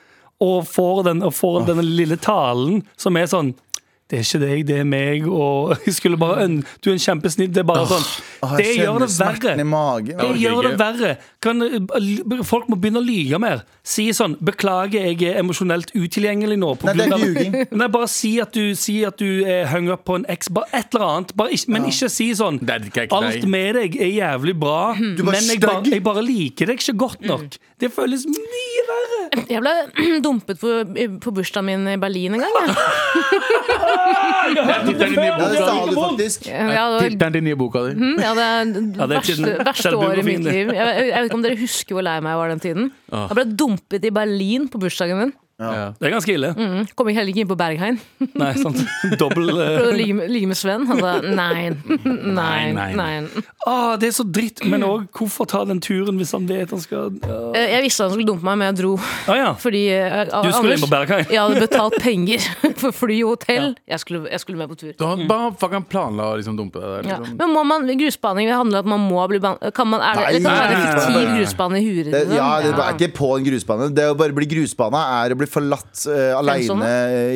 [SPEAKER 3] og får, den, og får denne lille talen som er sånn det er ikke deg, det er meg, og [LAUGHS] jeg skulle bare øn Du er en kjempesnill. Det er bare sånn.
[SPEAKER 2] Åh,
[SPEAKER 3] Det
[SPEAKER 2] jeg
[SPEAKER 3] gjør det
[SPEAKER 2] kjenner
[SPEAKER 3] verre.
[SPEAKER 2] smerten i magen.
[SPEAKER 3] Det
[SPEAKER 5] orker
[SPEAKER 3] gjør det
[SPEAKER 5] ikke.
[SPEAKER 3] verre. Kan, eh, folk må begynne å lyge mer. Si sånn 'Beklager, jeg er emosjonelt utilgjengelig nå'. på
[SPEAKER 2] Nei, det er
[SPEAKER 3] grunn av-
[SPEAKER 2] ljuging.
[SPEAKER 3] [LAUGHS] Nei, bare si at du, si at du er hung up på en eks. Bare et eller annet. Bare ikke, men ikke si sånn
[SPEAKER 5] Det er ikke- ikke
[SPEAKER 3] Alt
[SPEAKER 5] deg."
[SPEAKER 3] med deg er jævlig bra,
[SPEAKER 2] bare
[SPEAKER 3] men jeg bare,
[SPEAKER 2] stygg.
[SPEAKER 3] jeg bare liker deg ikke godt nok. Det føles mye verre.
[SPEAKER 4] Jeg ble [CLEARS THROAT] dumpet på, på bursdagen min i Berlin en gang.
[SPEAKER 3] [LAUGHS]
[SPEAKER 4] jeg.
[SPEAKER 5] Tittelen til den nye
[SPEAKER 2] Ja, det
[SPEAKER 5] boka
[SPEAKER 2] sa
[SPEAKER 5] di.
[SPEAKER 2] du faktisk.
[SPEAKER 4] Ja, det var-
[SPEAKER 5] Tittelen til den nye boka di.
[SPEAKER 4] ja, det er det
[SPEAKER 3] Ja, det er
[SPEAKER 4] verste,
[SPEAKER 3] tiden.
[SPEAKER 4] verste
[SPEAKER 3] Selv
[SPEAKER 4] året i mitt
[SPEAKER 3] biografien, det.
[SPEAKER 4] liv. Jeg, jeg vet ikke om dere husker hvor lei meg jeg var den tiden. Jeg ble dumpet i Berlin på bursdagen min.
[SPEAKER 3] Det er ganske ille.
[SPEAKER 4] Kom ikke heller ikke inn på Berghain.
[SPEAKER 3] Nei, sant. Dobbel eh.
[SPEAKER 4] Prøvde å ligge med, ligge med Sven. Han sa nei, nei,
[SPEAKER 3] [LAUGHS]
[SPEAKER 5] nei.
[SPEAKER 4] nei.
[SPEAKER 3] ah, Det er så dritt, men òg hvorfor ta den turen hvis han vet han skal Ja,
[SPEAKER 4] Eh, Jeg visste han skulle dumpe meg, men jeg dro.
[SPEAKER 3] ah, ja.
[SPEAKER 4] Fordi eh,
[SPEAKER 3] Du skulle
[SPEAKER 4] Anders-
[SPEAKER 3] inn på Berghain.
[SPEAKER 4] Jeg hadde
[SPEAKER 3] [LAUGHS]
[SPEAKER 4] betalt penger for fly og hotell. Jeg, skulle, jeg skulle med på tur.
[SPEAKER 5] Da bare fuck, han planla å liksom dumpe deg der.
[SPEAKER 4] Ja.
[SPEAKER 5] Liksom.
[SPEAKER 4] Men må man grusbaning det handler om at man må bli ban kan man, er det, eller kan det
[SPEAKER 2] Nei.
[SPEAKER 4] være fiktiv grusbane i huet?
[SPEAKER 2] Det,
[SPEAKER 4] liksom?
[SPEAKER 2] ja, det er ikke på en grusbane. Det å bare bli grusbane er å bli forlatt uh, aleine.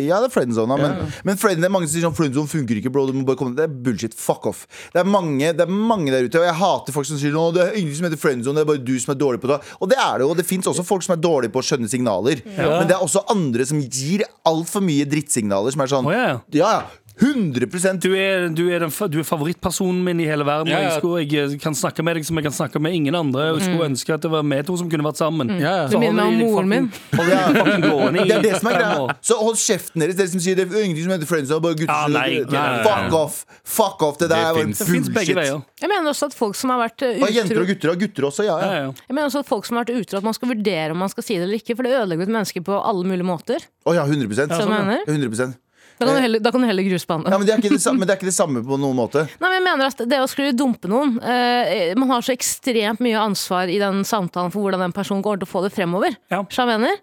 [SPEAKER 2] Ja, det er friendzona, men, men friend, det er mange som sier sånn friendzone funker ikke, bro. Du må bare komme Det er bullshit. Fuck off. Det er mange, det er mange der ute, og jeg hater folk som sier sånn, «Å, det er ingen som heter friendzone, det er bare du som er dårlig på det. Og det er det jo. Og det fins også folk som er dårlige på å skjønne signaler. Men det er også andre som gir altfor mye drittsignaler som er sånn
[SPEAKER 3] Å, ja, ja.
[SPEAKER 2] ja, ja. 100
[SPEAKER 3] Du er, du er, den, fa- du er favorittpersonen min i hele verden.
[SPEAKER 5] Ja, ja.
[SPEAKER 3] Og jeg, skulle, jeg eh, kan snakke med deg som jeg kan snakke med ingen andre. Og jeg skulle ønske at det var vi to som kunne vært sammen.
[SPEAKER 5] Ja, ja.
[SPEAKER 3] Så
[SPEAKER 5] Du
[SPEAKER 4] Mm. minner meg
[SPEAKER 3] holder
[SPEAKER 4] om
[SPEAKER 3] de
[SPEAKER 4] moren min.
[SPEAKER 2] [LAUGHS]
[SPEAKER 3] fucking- holder de fucking gående i
[SPEAKER 2] Det er det som er
[SPEAKER 3] fem
[SPEAKER 2] greia.
[SPEAKER 3] år.
[SPEAKER 2] Så hold kjeften deres, dere som sier det er ingenting som heter friends. Bare gutter,
[SPEAKER 3] Ja,
[SPEAKER 2] som-
[SPEAKER 3] nei, ikke- nei, nei, nei.
[SPEAKER 2] Fuck off! Fuck off, Det der
[SPEAKER 5] Det
[SPEAKER 2] var
[SPEAKER 5] finnes.
[SPEAKER 3] Det fins begge veier.
[SPEAKER 2] bullshit.
[SPEAKER 4] Jeg mener også at folk som har vært eh,
[SPEAKER 2] Og jenter
[SPEAKER 4] utro
[SPEAKER 2] og gutter og gutter også, ja.
[SPEAKER 3] Ja,
[SPEAKER 2] ja.
[SPEAKER 3] ja.
[SPEAKER 4] Jeg mener også at folk som har vært utro, at man skal vurdere om man skal si det eller ikke. For det ødelegger et menneske på alle mulige måter.
[SPEAKER 2] Å ja, 100
[SPEAKER 4] Så jeg mener.
[SPEAKER 2] 100
[SPEAKER 4] Da kan du heller, da kan du heller gruse på andre.
[SPEAKER 2] Eh. ja, men, det er ikke det samme, men det er ikke det samme på noen måte.
[SPEAKER 4] Nei, men jeg mener at Det å skulle dumpe noen eh, Man har så ekstremt mye ansvar i den samtalen for hvordan den personen kommer til å få det fremover.
[SPEAKER 3] Ja.
[SPEAKER 4] Skjønner du hva jeg mener?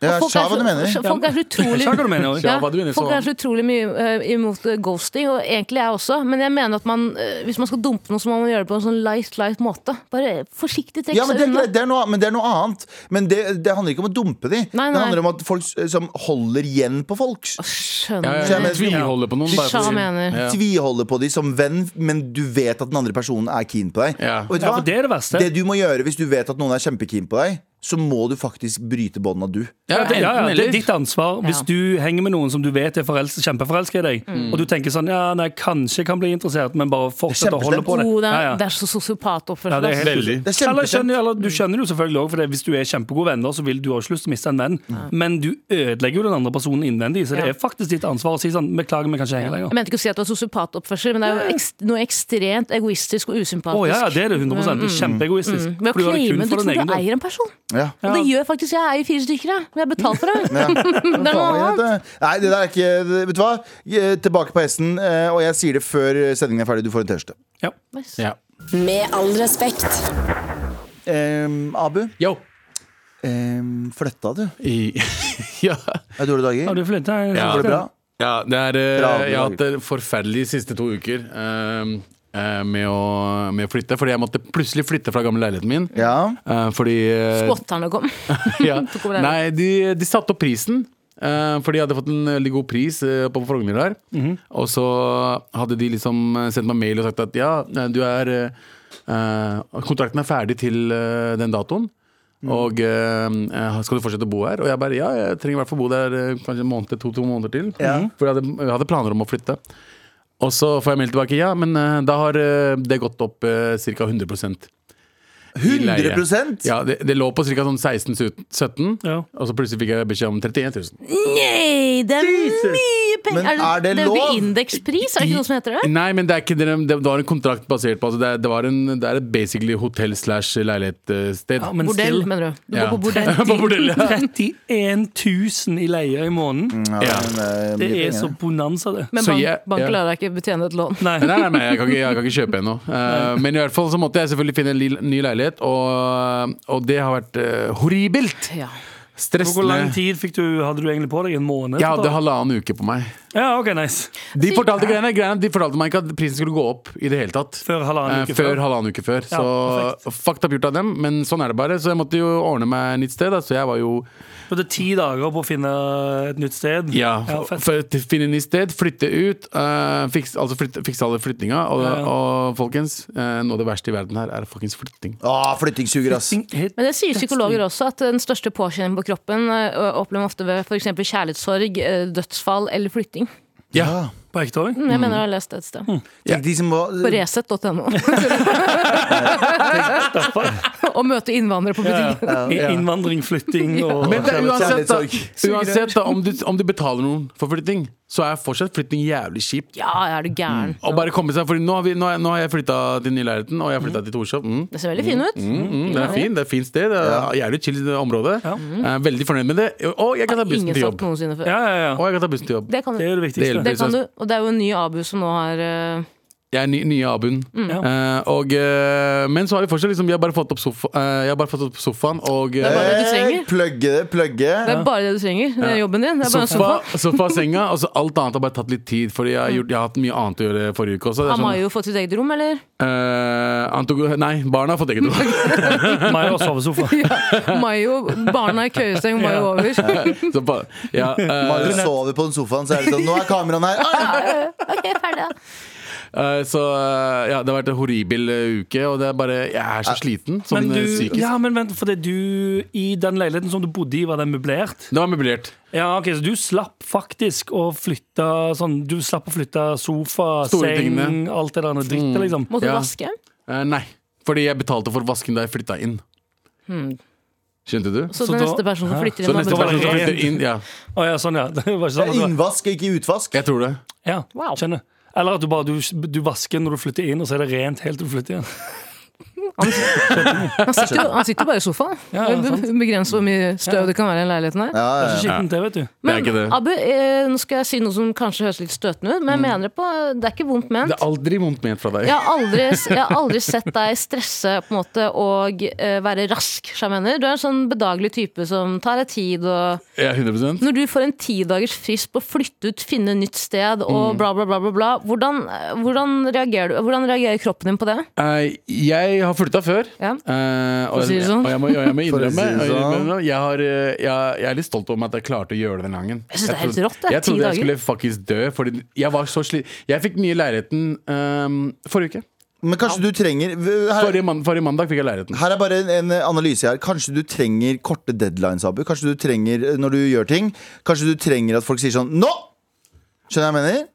[SPEAKER 2] Ja,
[SPEAKER 4] Og folk
[SPEAKER 2] Sja,
[SPEAKER 4] er
[SPEAKER 2] hva
[SPEAKER 4] så-
[SPEAKER 2] du mener.
[SPEAKER 4] så- Folk er så utrolig
[SPEAKER 3] Skjønner hva du mener,
[SPEAKER 5] Ja, hva du mener,
[SPEAKER 4] Folk
[SPEAKER 5] så-
[SPEAKER 4] er så utrolig mye eh, imot eh, ghosting, og egentlig jeg også. Men jeg mener at man, eh, hvis man skal dumpe noe, så må man gjøre det på en sånn light, light måte. Bare forsiktig trekke
[SPEAKER 2] Ja, men
[SPEAKER 4] seg
[SPEAKER 2] det, er
[SPEAKER 4] unna.
[SPEAKER 2] greit, det er noe, men det er noe annet. Men det, det handler ikke om å dumpe de.
[SPEAKER 4] Nei,
[SPEAKER 2] Det
[SPEAKER 4] nei.
[SPEAKER 2] handler om at folk s- som holder igjen på folk.
[SPEAKER 5] Ja,
[SPEAKER 4] Skjønner.
[SPEAKER 5] ja,
[SPEAKER 2] Så jeg
[SPEAKER 5] ja.
[SPEAKER 2] mener-
[SPEAKER 5] Tviholder på noen. Bare
[SPEAKER 4] Sja
[SPEAKER 5] for å si-
[SPEAKER 4] mener.
[SPEAKER 5] Ja.
[SPEAKER 2] [LAUGHS] Tviholder på de som venn, men du vet at den andre personen er keen på deg.
[SPEAKER 5] Ja.
[SPEAKER 2] Og vet du
[SPEAKER 3] Ja,
[SPEAKER 2] hva?
[SPEAKER 3] for det er det verste.
[SPEAKER 2] Det du må gjøre hvis du vet at noen er kjempekeen på deg, så må du faktisk bryte båndene du.
[SPEAKER 5] Ja,
[SPEAKER 3] Ja, ja,
[SPEAKER 5] enten
[SPEAKER 3] det er
[SPEAKER 5] eller.
[SPEAKER 3] ditt ansvar hvis
[SPEAKER 4] Ja.
[SPEAKER 3] du henger med noen som du vet er forelsket, kjempeforelska i deg,
[SPEAKER 4] Mm.
[SPEAKER 3] og du tenker sånn Ja, nei, kanskje jeg kan bli interessert, men bare fortsett å holde
[SPEAKER 2] Kjempestemt.
[SPEAKER 3] på det.
[SPEAKER 4] Oh, det,
[SPEAKER 3] Ja,
[SPEAKER 4] er,
[SPEAKER 3] ja.
[SPEAKER 4] det er så sosiopat-oppførsel. altså.
[SPEAKER 3] Ja, det er
[SPEAKER 4] ass.
[SPEAKER 3] helt
[SPEAKER 5] Veldig.
[SPEAKER 2] Det er
[SPEAKER 3] Eller,
[SPEAKER 2] kjempekjent.
[SPEAKER 3] skjønner, eller Du skjønner jo selvfølgelig også, for det, hvis du er kjempegode venner, så vil du har ikke lyst til å miste en venn, men du ødelegger jo den andre personen innvendig, så det
[SPEAKER 4] Ja.
[SPEAKER 3] er faktisk ditt ansvar å si sånn Beklager, vi kan ikke
[SPEAKER 4] Jeg
[SPEAKER 3] henge lenger.
[SPEAKER 4] mente ikke å si at det var sosiopatoppførsel, men det er jo ekst noe ekstremt egoistisk og
[SPEAKER 3] Å
[SPEAKER 4] usympatisk.
[SPEAKER 3] ja, ja, det er det 100 Det er kjempeegoistisk.
[SPEAKER 4] Mm. Ved å
[SPEAKER 3] For du gjør det kun
[SPEAKER 4] claime du
[SPEAKER 3] for din
[SPEAKER 4] tror
[SPEAKER 3] egen
[SPEAKER 4] du
[SPEAKER 3] del.
[SPEAKER 4] eier en person.
[SPEAKER 2] Ja.
[SPEAKER 4] Og det gjør faktisk jeg. Jeg eier fire stykker, jeg. Men jeg har betalt for [LAUGHS] det. det er noe
[SPEAKER 2] Faen,
[SPEAKER 4] annet.
[SPEAKER 2] vet du. Nei, det der er ikke det- Vet du hva? Eh, Tilbake på hesten, eh, og jeg sier det før sendingen er ferdig. Du får en T-skjorte.
[SPEAKER 3] Ja.
[SPEAKER 5] Ja.
[SPEAKER 8] Med all respekt.
[SPEAKER 3] Ehm,
[SPEAKER 2] Em, Abu,
[SPEAKER 5] Yo.
[SPEAKER 2] um, flytta du? Er
[SPEAKER 5] I, [LAUGHS] ja.
[SPEAKER 2] det dårlige
[SPEAKER 3] Ja,
[SPEAKER 2] dager?
[SPEAKER 3] du flytter, jeg-
[SPEAKER 5] Ja.
[SPEAKER 2] Går det bra?
[SPEAKER 5] ja, det er eh,
[SPEAKER 2] Bra, bra.
[SPEAKER 5] Jeg har hatt det forferdelig de siste to uker eh, eh, med, å, med å flytte. Fordi jeg måtte plutselig flytte fra gamle leiligheten min.
[SPEAKER 2] Ja.
[SPEAKER 5] Eh, fordi eh,
[SPEAKER 4] Spotterne kom.
[SPEAKER 5] ja.
[SPEAKER 4] Tok over leiligheten.
[SPEAKER 5] Nei, de, de satte opp prisen. eh, for de hadde fått en veldig god pris eh, på Frogner der. Og så hadde de liksom eh, sendt meg mail og sagt at ja, eh, du er eh, eh, Kontrakten er ferdig til eh, den datoen. Og eh, eh, skal du fortsette å bo her? Og jeg bare ja, jeg trenger i hvert fall bo der eh, kanskje en måned, to, to måneder til. Mhm. For jeg hadde, jeg hadde planer om å flytte. Og så får jeg mail tilbake ja, men eh, da har eh, det gått opp uh, ca. 100 i leie.
[SPEAKER 2] 100
[SPEAKER 5] Ja, det, det lå på ca. sånn 16-17,
[SPEAKER 3] Ja.
[SPEAKER 5] og så plutselig fikk jeg beskjed om 31 000.
[SPEAKER 4] Nei, det er mye penger!
[SPEAKER 2] Men er det
[SPEAKER 4] det er jo
[SPEAKER 2] lov?
[SPEAKER 4] ikke indekspris, er det ikke noe som heter det?
[SPEAKER 5] Nei, men det, er ikke, det, det var en kontrakt basert på altså det, er- det, var en, det er et basically hotell slash eh, leilighetssted.
[SPEAKER 3] Ja, men
[SPEAKER 4] Bordell,
[SPEAKER 3] still.
[SPEAKER 4] mener du. Du
[SPEAKER 5] Ja.
[SPEAKER 4] går på [LAUGHS] bordell.
[SPEAKER 5] [LAUGHS] På bordell, ja. Mm,
[SPEAKER 3] 31 000 i leie i måneden.
[SPEAKER 5] Ja.
[SPEAKER 2] men, eh, mye
[SPEAKER 3] Det er
[SPEAKER 2] penger.
[SPEAKER 3] så bonanza, det.
[SPEAKER 4] Men
[SPEAKER 5] Så
[SPEAKER 4] bank,
[SPEAKER 5] jeg- ja.
[SPEAKER 4] banken lar deg ikke betjene et lån.
[SPEAKER 3] Nei.
[SPEAKER 5] Nei, nei, nei jeg, kan ikke, jeg kan ikke kjøpe ennå. Eh, men i hvert fall så måtte jeg selvfølgelig finne en li- ny leilighet, og, og det har vært eh, horribelt.
[SPEAKER 4] Ja.
[SPEAKER 3] Hvor lang
[SPEAKER 5] Stressende.
[SPEAKER 3] tid fikk du, hadde du egentlig på deg? En måned?
[SPEAKER 5] Jeg hadde
[SPEAKER 3] etterpå?
[SPEAKER 5] halvannen uke på meg.
[SPEAKER 3] Ja, ok, nice
[SPEAKER 5] De fortalte, greiene, greiene, de fortalte meg ikke at prisen skulle gå opp i det hele tatt.
[SPEAKER 3] Før halvannen
[SPEAKER 5] Eh,
[SPEAKER 3] uke
[SPEAKER 5] før.
[SPEAKER 3] før.
[SPEAKER 5] halvannen uke før.
[SPEAKER 3] Ja,
[SPEAKER 5] så fucked up gjort av dem, men sånn er det bare. Så jeg måtte jo ordne meg nytt sted. da. Så jeg var jo
[SPEAKER 3] Du hadde ti dager på å finne et nytt sted.
[SPEAKER 5] ja,
[SPEAKER 3] fett.
[SPEAKER 5] for, til å finne nytt sted, flytte ut, eh, fiks, altså flytte, fikse alle flyttinga. Og,
[SPEAKER 3] Ja, ja.
[SPEAKER 5] og folkens, eh, noe av det verste i verden her er fuckings flytting.
[SPEAKER 2] Ah, flyttingssuger, ass.
[SPEAKER 3] Ting- helt-
[SPEAKER 4] [LAUGHS] Men det sier psykologer også, at den største påkjenningen på kroppen eh, opplever man ofte ved f.eks. kjærlighetssorg, eh, dødsfall eller flytting.
[SPEAKER 5] Ja.
[SPEAKER 3] På ekte òg?
[SPEAKER 4] Mm, Jeg mener jeg har lest det et sted.
[SPEAKER 2] Tenk de som må
[SPEAKER 4] På [LAUGHS] resett.no. Å møte innvandrere på butikken.
[SPEAKER 3] Innvandring, flytting og
[SPEAKER 5] Men det, er uansett, da,
[SPEAKER 2] Kjærlighetssorg.
[SPEAKER 5] uansett da, om, du, om du betaler noen for flytting, så er fortsatt flytting jævlig kjipt.
[SPEAKER 4] Ja, Mm. er du gæren.
[SPEAKER 5] Og bare komme seg, fordi nå har, vi, nå har, jeg- nå har jeg flytta til ny leiligheten, og jeg har flytta
[SPEAKER 3] Mhm.
[SPEAKER 5] til Torshov. Mm.
[SPEAKER 4] Det ser veldig fin ut.
[SPEAKER 5] Mm, mm, det er fint, det er fint sted. Det er Jævlig chill område. Jeg er veldig fornøyd med det. Og jeg kan ta bussen
[SPEAKER 4] Ingen
[SPEAKER 5] til jobb.
[SPEAKER 4] sagt noensinne før.
[SPEAKER 3] Ja, ja, ja.
[SPEAKER 5] Og jeg kan ta bussen til jobb.
[SPEAKER 4] Det kan
[SPEAKER 3] Det
[SPEAKER 4] du.
[SPEAKER 3] er jo
[SPEAKER 5] Det
[SPEAKER 3] det viktigste.
[SPEAKER 5] hjelper.
[SPEAKER 4] Det kan du. Og det er jo en ny Abu som nå har eh,
[SPEAKER 5] Jeg er ny, nye Abun.
[SPEAKER 4] Mm.
[SPEAKER 5] Eh, og, eh, men så har vi fortsatt liksom, Vi har bare fått opp, sofa, eh, jeg har bare fått opp sofaen og eh,
[SPEAKER 4] Det er bare det du trenger.
[SPEAKER 2] Eh, plugge,
[SPEAKER 4] Det
[SPEAKER 2] plugge.
[SPEAKER 4] er bare det du trenger. Det er jobben din. Det er bare en sofa.
[SPEAKER 5] [LAUGHS] sofa, sofa og senga. Og så alt annet har bare tatt litt tid, Fordi jeg har, gjort, jeg har hatt mye annet å gjøre forrige uke også. Det er
[SPEAKER 4] Han har
[SPEAKER 5] sånn,
[SPEAKER 4] jo fått sitt eget rom, eller? [LAUGHS]
[SPEAKER 5] eh, annet å gå- nei, barna har fått eget rom.
[SPEAKER 3] Meg og sovesofa.
[SPEAKER 4] Mayo, barna i køyesteng,
[SPEAKER 5] [LAUGHS]
[SPEAKER 4] Mayo over.
[SPEAKER 5] Så ba- ja, eh,
[SPEAKER 2] Bare sover på den sofaen, så er det sånn Nå er kameraene her! Ah!
[SPEAKER 4] Ok, ferdig.
[SPEAKER 5] Eh, så eh, ja, det har vært en horribel eh, uke, og det er bare Jeg er så sliten, sånn
[SPEAKER 3] Men
[SPEAKER 5] eh,
[SPEAKER 3] du,
[SPEAKER 5] psykisk.
[SPEAKER 3] [LAUGHS] ja, men vent, for det du I den leiligheten som du bodde i, var den møblert?
[SPEAKER 5] Det var møblert.
[SPEAKER 3] Ja, ok, Så du slapp faktisk å flytte sånn, Du slapp å flytte sofa,
[SPEAKER 5] Store
[SPEAKER 3] seng,
[SPEAKER 5] tingene.
[SPEAKER 3] alt det der andre drittet, liksom?
[SPEAKER 4] Måtte du
[SPEAKER 5] Ja.
[SPEAKER 4] vaske?
[SPEAKER 5] Eh, nei, fordi jeg betalte for vasken da jeg flytta inn. Skjønte du?
[SPEAKER 4] Hmm. Så,
[SPEAKER 3] Så
[SPEAKER 4] den
[SPEAKER 3] da-
[SPEAKER 4] neste personen som flytter
[SPEAKER 5] Så
[SPEAKER 4] inn
[SPEAKER 5] neste
[SPEAKER 3] var
[SPEAKER 5] person
[SPEAKER 4] andre-
[SPEAKER 3] det
[SPEAKER 5] som
[SPEAKER 3] rent.
[SPEAKER 5] flytter inn Ja,
[SPEAKER 3] Å ja, sånn, ja. [LAUGHS] Det var ikke
[SPEAKER 2] Det
[SPEAKER 3] sånn at
[SPEAKER 2] er
[SPEAKER 3] det var.
[SPEAKER 2] Innvask, ikke utvask.
[SPEAKER 5] jeg tror det.
[SPEAKER 3] Ja,
[SPEAKER 4] Wow.
[SPEAKER 3] skjønner. Eller at du bare du, du vasker når du flytter inn, og så er det rent helt til du flytter igjen.
[SPEAKER 4] Han sitter, jo, han sitter jo bare i sofaen.
[SPEAKER 3] Ja, ja, sant.
[SPEAKER 4] Begrenser hvor mye støv det kan være i den leiligheten her.
[SPEAKER 2] Ja,
[SPEAKER 3] Det er
[SPEAKER 2] ja.
[SPEAKER 3] så skittent, det, vet du.
[SPEAKER 5] Det er
[SPEAKER 4] Men
[SPEAKER 5] ikke det. Mm.
[SPEAKER 4] Abu, eh, nå skal jeg si noe som kanskje høres litt støtende ut, men jeg mener det på Det er ikke vondt ment.
[SPEAKER 5] Det er aldri vondt ment fra deg.
[SPEAKER 4] Jeg har, aldri, jeg har aldri sett deg stresse på en måte og eh, være rask. som Jeg mener. Du er en sånn bedagelig type som tar deg tid. Og
[SPEAKER 5] Ja, 100
[SPEAKER 4] når du får en tidagers frist på å flytte ut, finne nytt sted og bla, bla, bla, bla, bla hvordan, eh, hvordan, reagerer du, hvordan reagerer kroppen din på det?
[SPEAKER 5] Eh, Jeg har flytta før.
[SPEAKER 4] Ja.
[SPEAKER 5] Eh,
[SPEAKER 4] For å
[SPEAKER 5] og,
[SPEAKER 4] si det sånn.
[SPEAKER 5] og jeg må, og jeg må
[SPEAKER 4] [LAUGHS]
[SPEAKER 2] For å
[SPEAKER 5] innrømme,
[SPEAKER 2] si det
[SPEAKER 5] og jeg,
[SPEAKER 2] sånn.
[SPEAKER 5] innrømme, jeg, har, eh, jeg, jeg er litt stolt over meg at jeg klarte å gjøre det den gangen.
[SPEAKER 4] Jeg synes det er helt
[SPEAKER 5] trodde-
[SPEAKER 4] rått, det.
[SPEAKER 5] Jeg
[SPEAKER 4] Ti
[SPEAKER 5] trodde jeg
[SPEAKER 4] dager.
[SPEAKER 5] skulle faktisk dø. Fordi jeg var så sli Jeg fikk den nye leiligheten ehm, forrige uke.
[SPEAKER 2] Men kanskje du trenger her,
[SPEAKER 5] Forrige, man forrige mandag fikk jeg leiligheten.
[SPEAKER 2] her er bare en, en analyse her. Kanskje du trenger korte deadlines, Abu. Kanskje du trenger eh, når du gjør ting Kanskje du trenger at folk sier sånn Nå! Skjønner du hva jeg mener?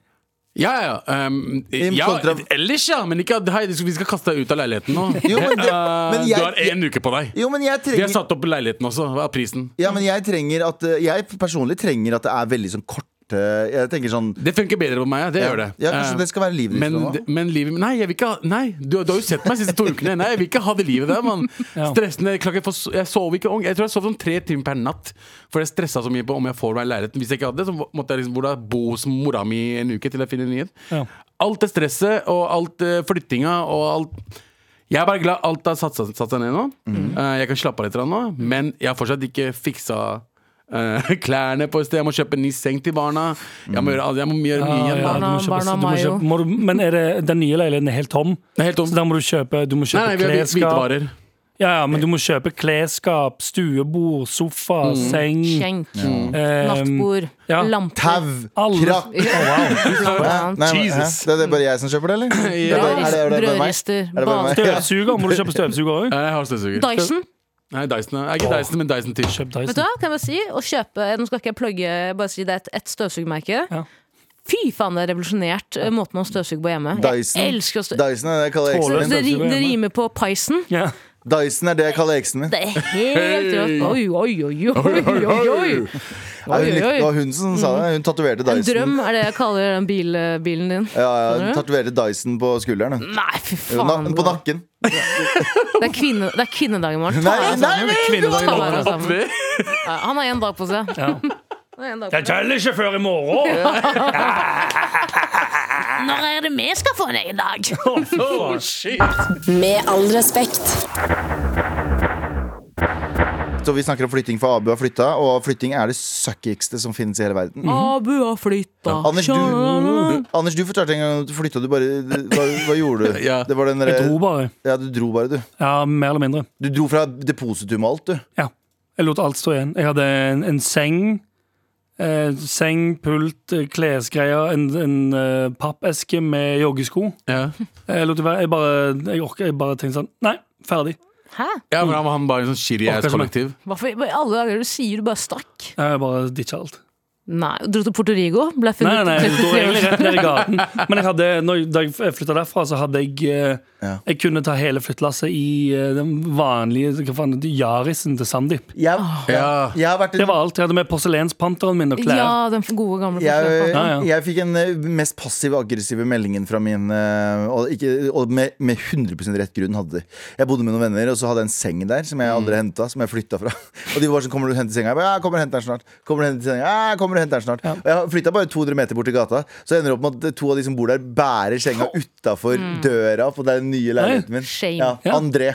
[SPEAKER 5] Ja, ja. ehm,
[SPEAKER 2] I
[SPEAKER 5] ja
[SPEAKER 2] kontra-
[SPEAKER 5] ellers, ja. Men ikke at hei, vi skal kaste deg ut av leiligheten nå.
[SPEAKER 2] [LAUGHS] Jo, men det- men
[SPEAKER 5] Eh,
[SPEAKER 2] jeg-
[SPEAKER 5] du har én uke på deg.
[SPEAKER 2] Jo, men jeg
[SPEAKER 5] Vi har
[SPEAKER 2] trenger
[SPEAKER 5] satt opp leiligheten også. Hva er prisen?
[SPEAKER 2] Ja, men jeg trenger at eh, Jeg personlig trenger at det er veldig sånn korte Jeg tenker sånn
[SPEAKER 5] Det funker bedre på meg, ja. det
[SPEAKER 2] Ja.
[SPEAKER 5] gjør det.
[SPEAKER 2] Ja, kanskje
[SPEAKER 5] Eh,
[SPEAKER 2] det skal være livet ditt
[SPEAKER 5] men,
[SPEAKER 2] nå, da?
[SPEAKER 5] d- men livet Nei, jeg vil ikke ha Nei, du, du har jo sett meg de siste to ukene. Nei, jeg vil ikke ha det livet der, mann.
[SPEAKER 3] [LAUGHS] Ja.
[SPEAKER 5] Stressende. Jeg, klarer ikke å få so- jeg sov ikke ung. Jeg tror jeg sov sånn tre timer per natt. For jeg stressa så mye på om jeg får meg leiligheten. Hvis jeg ikke hadde det, så måtte jeg liksom hvor da, bo hos mora mi en uke til jeg finner en nyhet.
[SPEAKER 3] Ja.
[SPEAKER 5] Alt det stresset og alt eh, flyttinga og alt jeg er bare glad alt har satt, seg- satt seg ned nå. Eh, jeg kan slappe av litt grann nå, men jeg har fortsatt ikke fiksa eh, [LAUGHS] klærne på et sted. Jeg må kjøpe en ny seng til barna. Jeg må gjøre, alt- jeg må gjøre mye igjen.
[SPEAKER 3] Ja,
[SPEAKER 5] da.
[SPEAKER 3] du må kjøpe,
[SPEAKER 4] Barna-
[SPEAKER 3] du må
[SPEAKER 4] barna
[SPEAKER 3] kjøpe, må du, men er det, den nye leiligheten er helt tom,
[SPEAKER 5] Det er helt
[SPEAKER 3] så
[SPEAKER 5] tomt.
[SPEAKER 3] da må du kjøpe, du må
[SPEAKER 5] Nei,
[SPEAKER 3] kjøpe
[SPEAKER 5] nei, vi har hvit-
[SPEAKER 3] klesskap.
[SPEAKER 5] hvitvarer.
[SPEAKER 3] Ja, ja, men du må kjøpe klesskap, stuebord, sofa,
[SPEAKER 5] Mm.
[SPEAKER 3] seng.
[SPEAKER 4] Skjenk,
[SPEAKER 3] eh,
[SPEAKER 4] nattbord,
[SPEAKER 3] ja.
[SPEAKER 2] Tau,
[SPEAKER 4] lamper
[SPEAKER 3] Alle-
[SPEAKER 4] [LAUGHS]
[SPEAKER 2] krakk Hæ? Nei, men, hæ?
[SPEAKER 5] Jesus.
[SPEAKER 2] Det er det bare jeg som kjøper det,
[SPEAKER 4] [LAUGHS]
[SPEAKER 2] eller?
[SPEAKER 5] Ja.
[SPEAKER 2] Er det- er det- er det bare meg?
[SPEAKER 4] Brødrister,
[SPEAKER 2] Er det bare meg?
[SPEAKER 4] bade...
[SPEAKER 3] Støvsuger. Må du kjøpe støvsuger òg?
[SPEAKER 5] Nei, Jeg har støvsuger.
[SPEAKER 4] Dyson.
[SPEAKER 5] Nei, Dyson er, ikke Dyson, men Dyson Tish.
[SPEAKER 3] Kjøp
[SPEAKER 4] Vet du
[SPEAKER 3] Dyson.
[SPEAKER 4] hva, kan jeg bare si? Å kjøpe, nå skal ikke jeg plugge, bare si det er et, et støvsugermerke.
[SPEAKER 3] Ja.
[SPEAKER 4] Fy faen, det har revolusjonert eh, måten man støvsuger på hjemme.
[SPEAKER 2] [LAUGHS] Dyson.
[SPEAKER 4] Jeg elsker å støvsuge.
[SPEAKER 2] Dyson er det jeg kaller eksen
[SPEAKER 3] Tåler.
[SPEAKER 2] min.
[SPEAKER 4] Det, ri-
[SPEAKER 3] støvsuger
[SPEAKER 4] det
[SPEAKER 3] hjemme.
[SPEAKER 4] rimer på Pison.
[SPEAKER 3] Ja.
[SPEAKER 2] Dyson er det jeg kaller eksen min.
[SPEAKER 4] Det er helt rått. Oi, oi, oi, oi, oi, oi.
[SPEAKER 2] Ja, hun,
[SPEAKER 4] Oi, oi, oi.
[SPEAKER 2] likte- det var hun som sa det. Hun tatoverte
[SPEAKER 4] En
[SPEAKER 2] Dyson.
[SPEAKER 4] drøm er det jeg kaller den bil, bilen din.
[SPEAKER 2] Ja, ja, hun
[SPEAKER 4] Skjønner du?
[SPEAKER 2] tatoverte Dyson på skulderen. hun.
[SPEAKER 4] Nei, fy
[SPEAKER 2] Jo,
[SPEAKER 4] faen. altså.
[SPEAKER 2] na på nakken.
[SPEAKER 4] Det er, kvinne, det er kvinnedag i morgen. Ta
[SPEAKER 2] Nei,
[SPEAKER 4] deg
[SPEAKER 2] nei,
[SPEAKER 4] sammen.
[SPEAKER 2] nei,
[SPEAKER 4] Ta
[SPEAKER 3] Kvinnedagen
[SPEAKER 4] deg
[SPEAKER 3] åpner.
[SPEAKER 4] sammen. Ja, Han har én dag på seg.
[SPEAKER 3] Ja.
[SPEAKER 4] Han har en dag på
[SPEAKER 3] Jeg teller ikke før i [LAUGHS] morgen!
[SPEAKER 4] seg. Når er det vi skal få en egen dag?
[SPEAKER 3] Faen.
[SPEAKER 8] Med all respekt.
[SPEAKER 2] Så vi snakker om flytting, for Abu har flytta, og flytting er det suckigste som finnes i hele verden.
[SPEAKER 4] Abu har flytta.
[SPEAKER 2] Anders, du, Anders, du fortalte en gang at du flytta, du bare Hva, hva gjorde du?
[SPEAKER 5] Ja.
[SPEAKER 2] Det var den
[SPEAKER 3] Jeg
[SPEAKER 2] derre
[SPEAKER 3] dro bare.
[SPEAKER 2] Ja, du dro bare, du.
[SPEAKER 3] Ja, mer eller mindre.
[SPEAKER 2] Du dro fra depositum og alt, du.
[SPEAKER 3] Ja. Jeg lot alt stå igjen. Jeg hadde en, en seng. Eh, seng, pult, eh, klesgreier, en, en eh, pappeske med joggesko.
[SPEAKER 5] Ja.
[SPEAKER 3] Jeg, lot det være. jeg, bare, jeg, orker, jeg bare tenkte sånn Nei, ferdig.
[SPEAKER 4] Hæ?
[SPEAKER 5] ja, men han, han var en sånn shitty ass
[SPEAKER 3] Orker som
[SPEAKER 5] kollektiv.
[SPEAKER 4] Hvorfor i alle dager du sier du bare stakk?
[SPEAKER 3] Jeg bare ditcha alt.
[SPEAKER 4] Nei, Dro til Puerto Rico? Ble
[SPEAKER 3] Nei,
[SPEAKER 4] funnet [LAUGHS]
[SPEAKER 3] nei,
[SPEAKER 4] nei,
[SPEAKER 3] nei, jeg sto egentlig rett ned i gaten. Men jeg hadde, når, da jeg flytta derfra, så hadde jeg eh,
[SPEAKER 2] Ja.
[SPEAKER 3] Jeg kunne ta hele flyttelasset i eh, den vanlige hva faen, Yarisen til Sandeep.
[SPEAKER 2] Jeg,
[SPEAKER 5] Ja.
[SPEAKER 2] jeg har vært
[SPEAKER 3] Det
[SPEAKER 2] en
[SPEAKER 3] var alt. Jeg hadde med porselenspanteren min og klær.
[SPEAKER 4] Ja, den gode gamle
[SPEAKER 2] jeg,
[SPEAKER 4] ja.
[SPEAKER 3] Ja, ja.
[SPEAKER 2] jeg fikk den eh, mest passive aggressive meldingen fra min eh, Og, ikke, og med, med 100 rett grunn hadde de. Jeg bodde med noen venner, og så hadde jeg en seng der som jeg aldri henta. Som jeg flytta fra. [LAUGHS] Og de var sånn 'Kommer du og henter senga?' Jeg bare, ja, jeg kommer og henter den snart. Kommer du og henter senga? Ja, jeg kommer og henter den snart. Og jeg flytta bare 200 meter bort til gata, så ender det opp med at to av de som bor der, bærer senga utafor døra på den nye leiligheten min.
[SPEAKER 4] Mm. Shame.
[SPEAKER 2] Ja,
[SPEAKER 3] Ja.
[SPEAKER 2] André.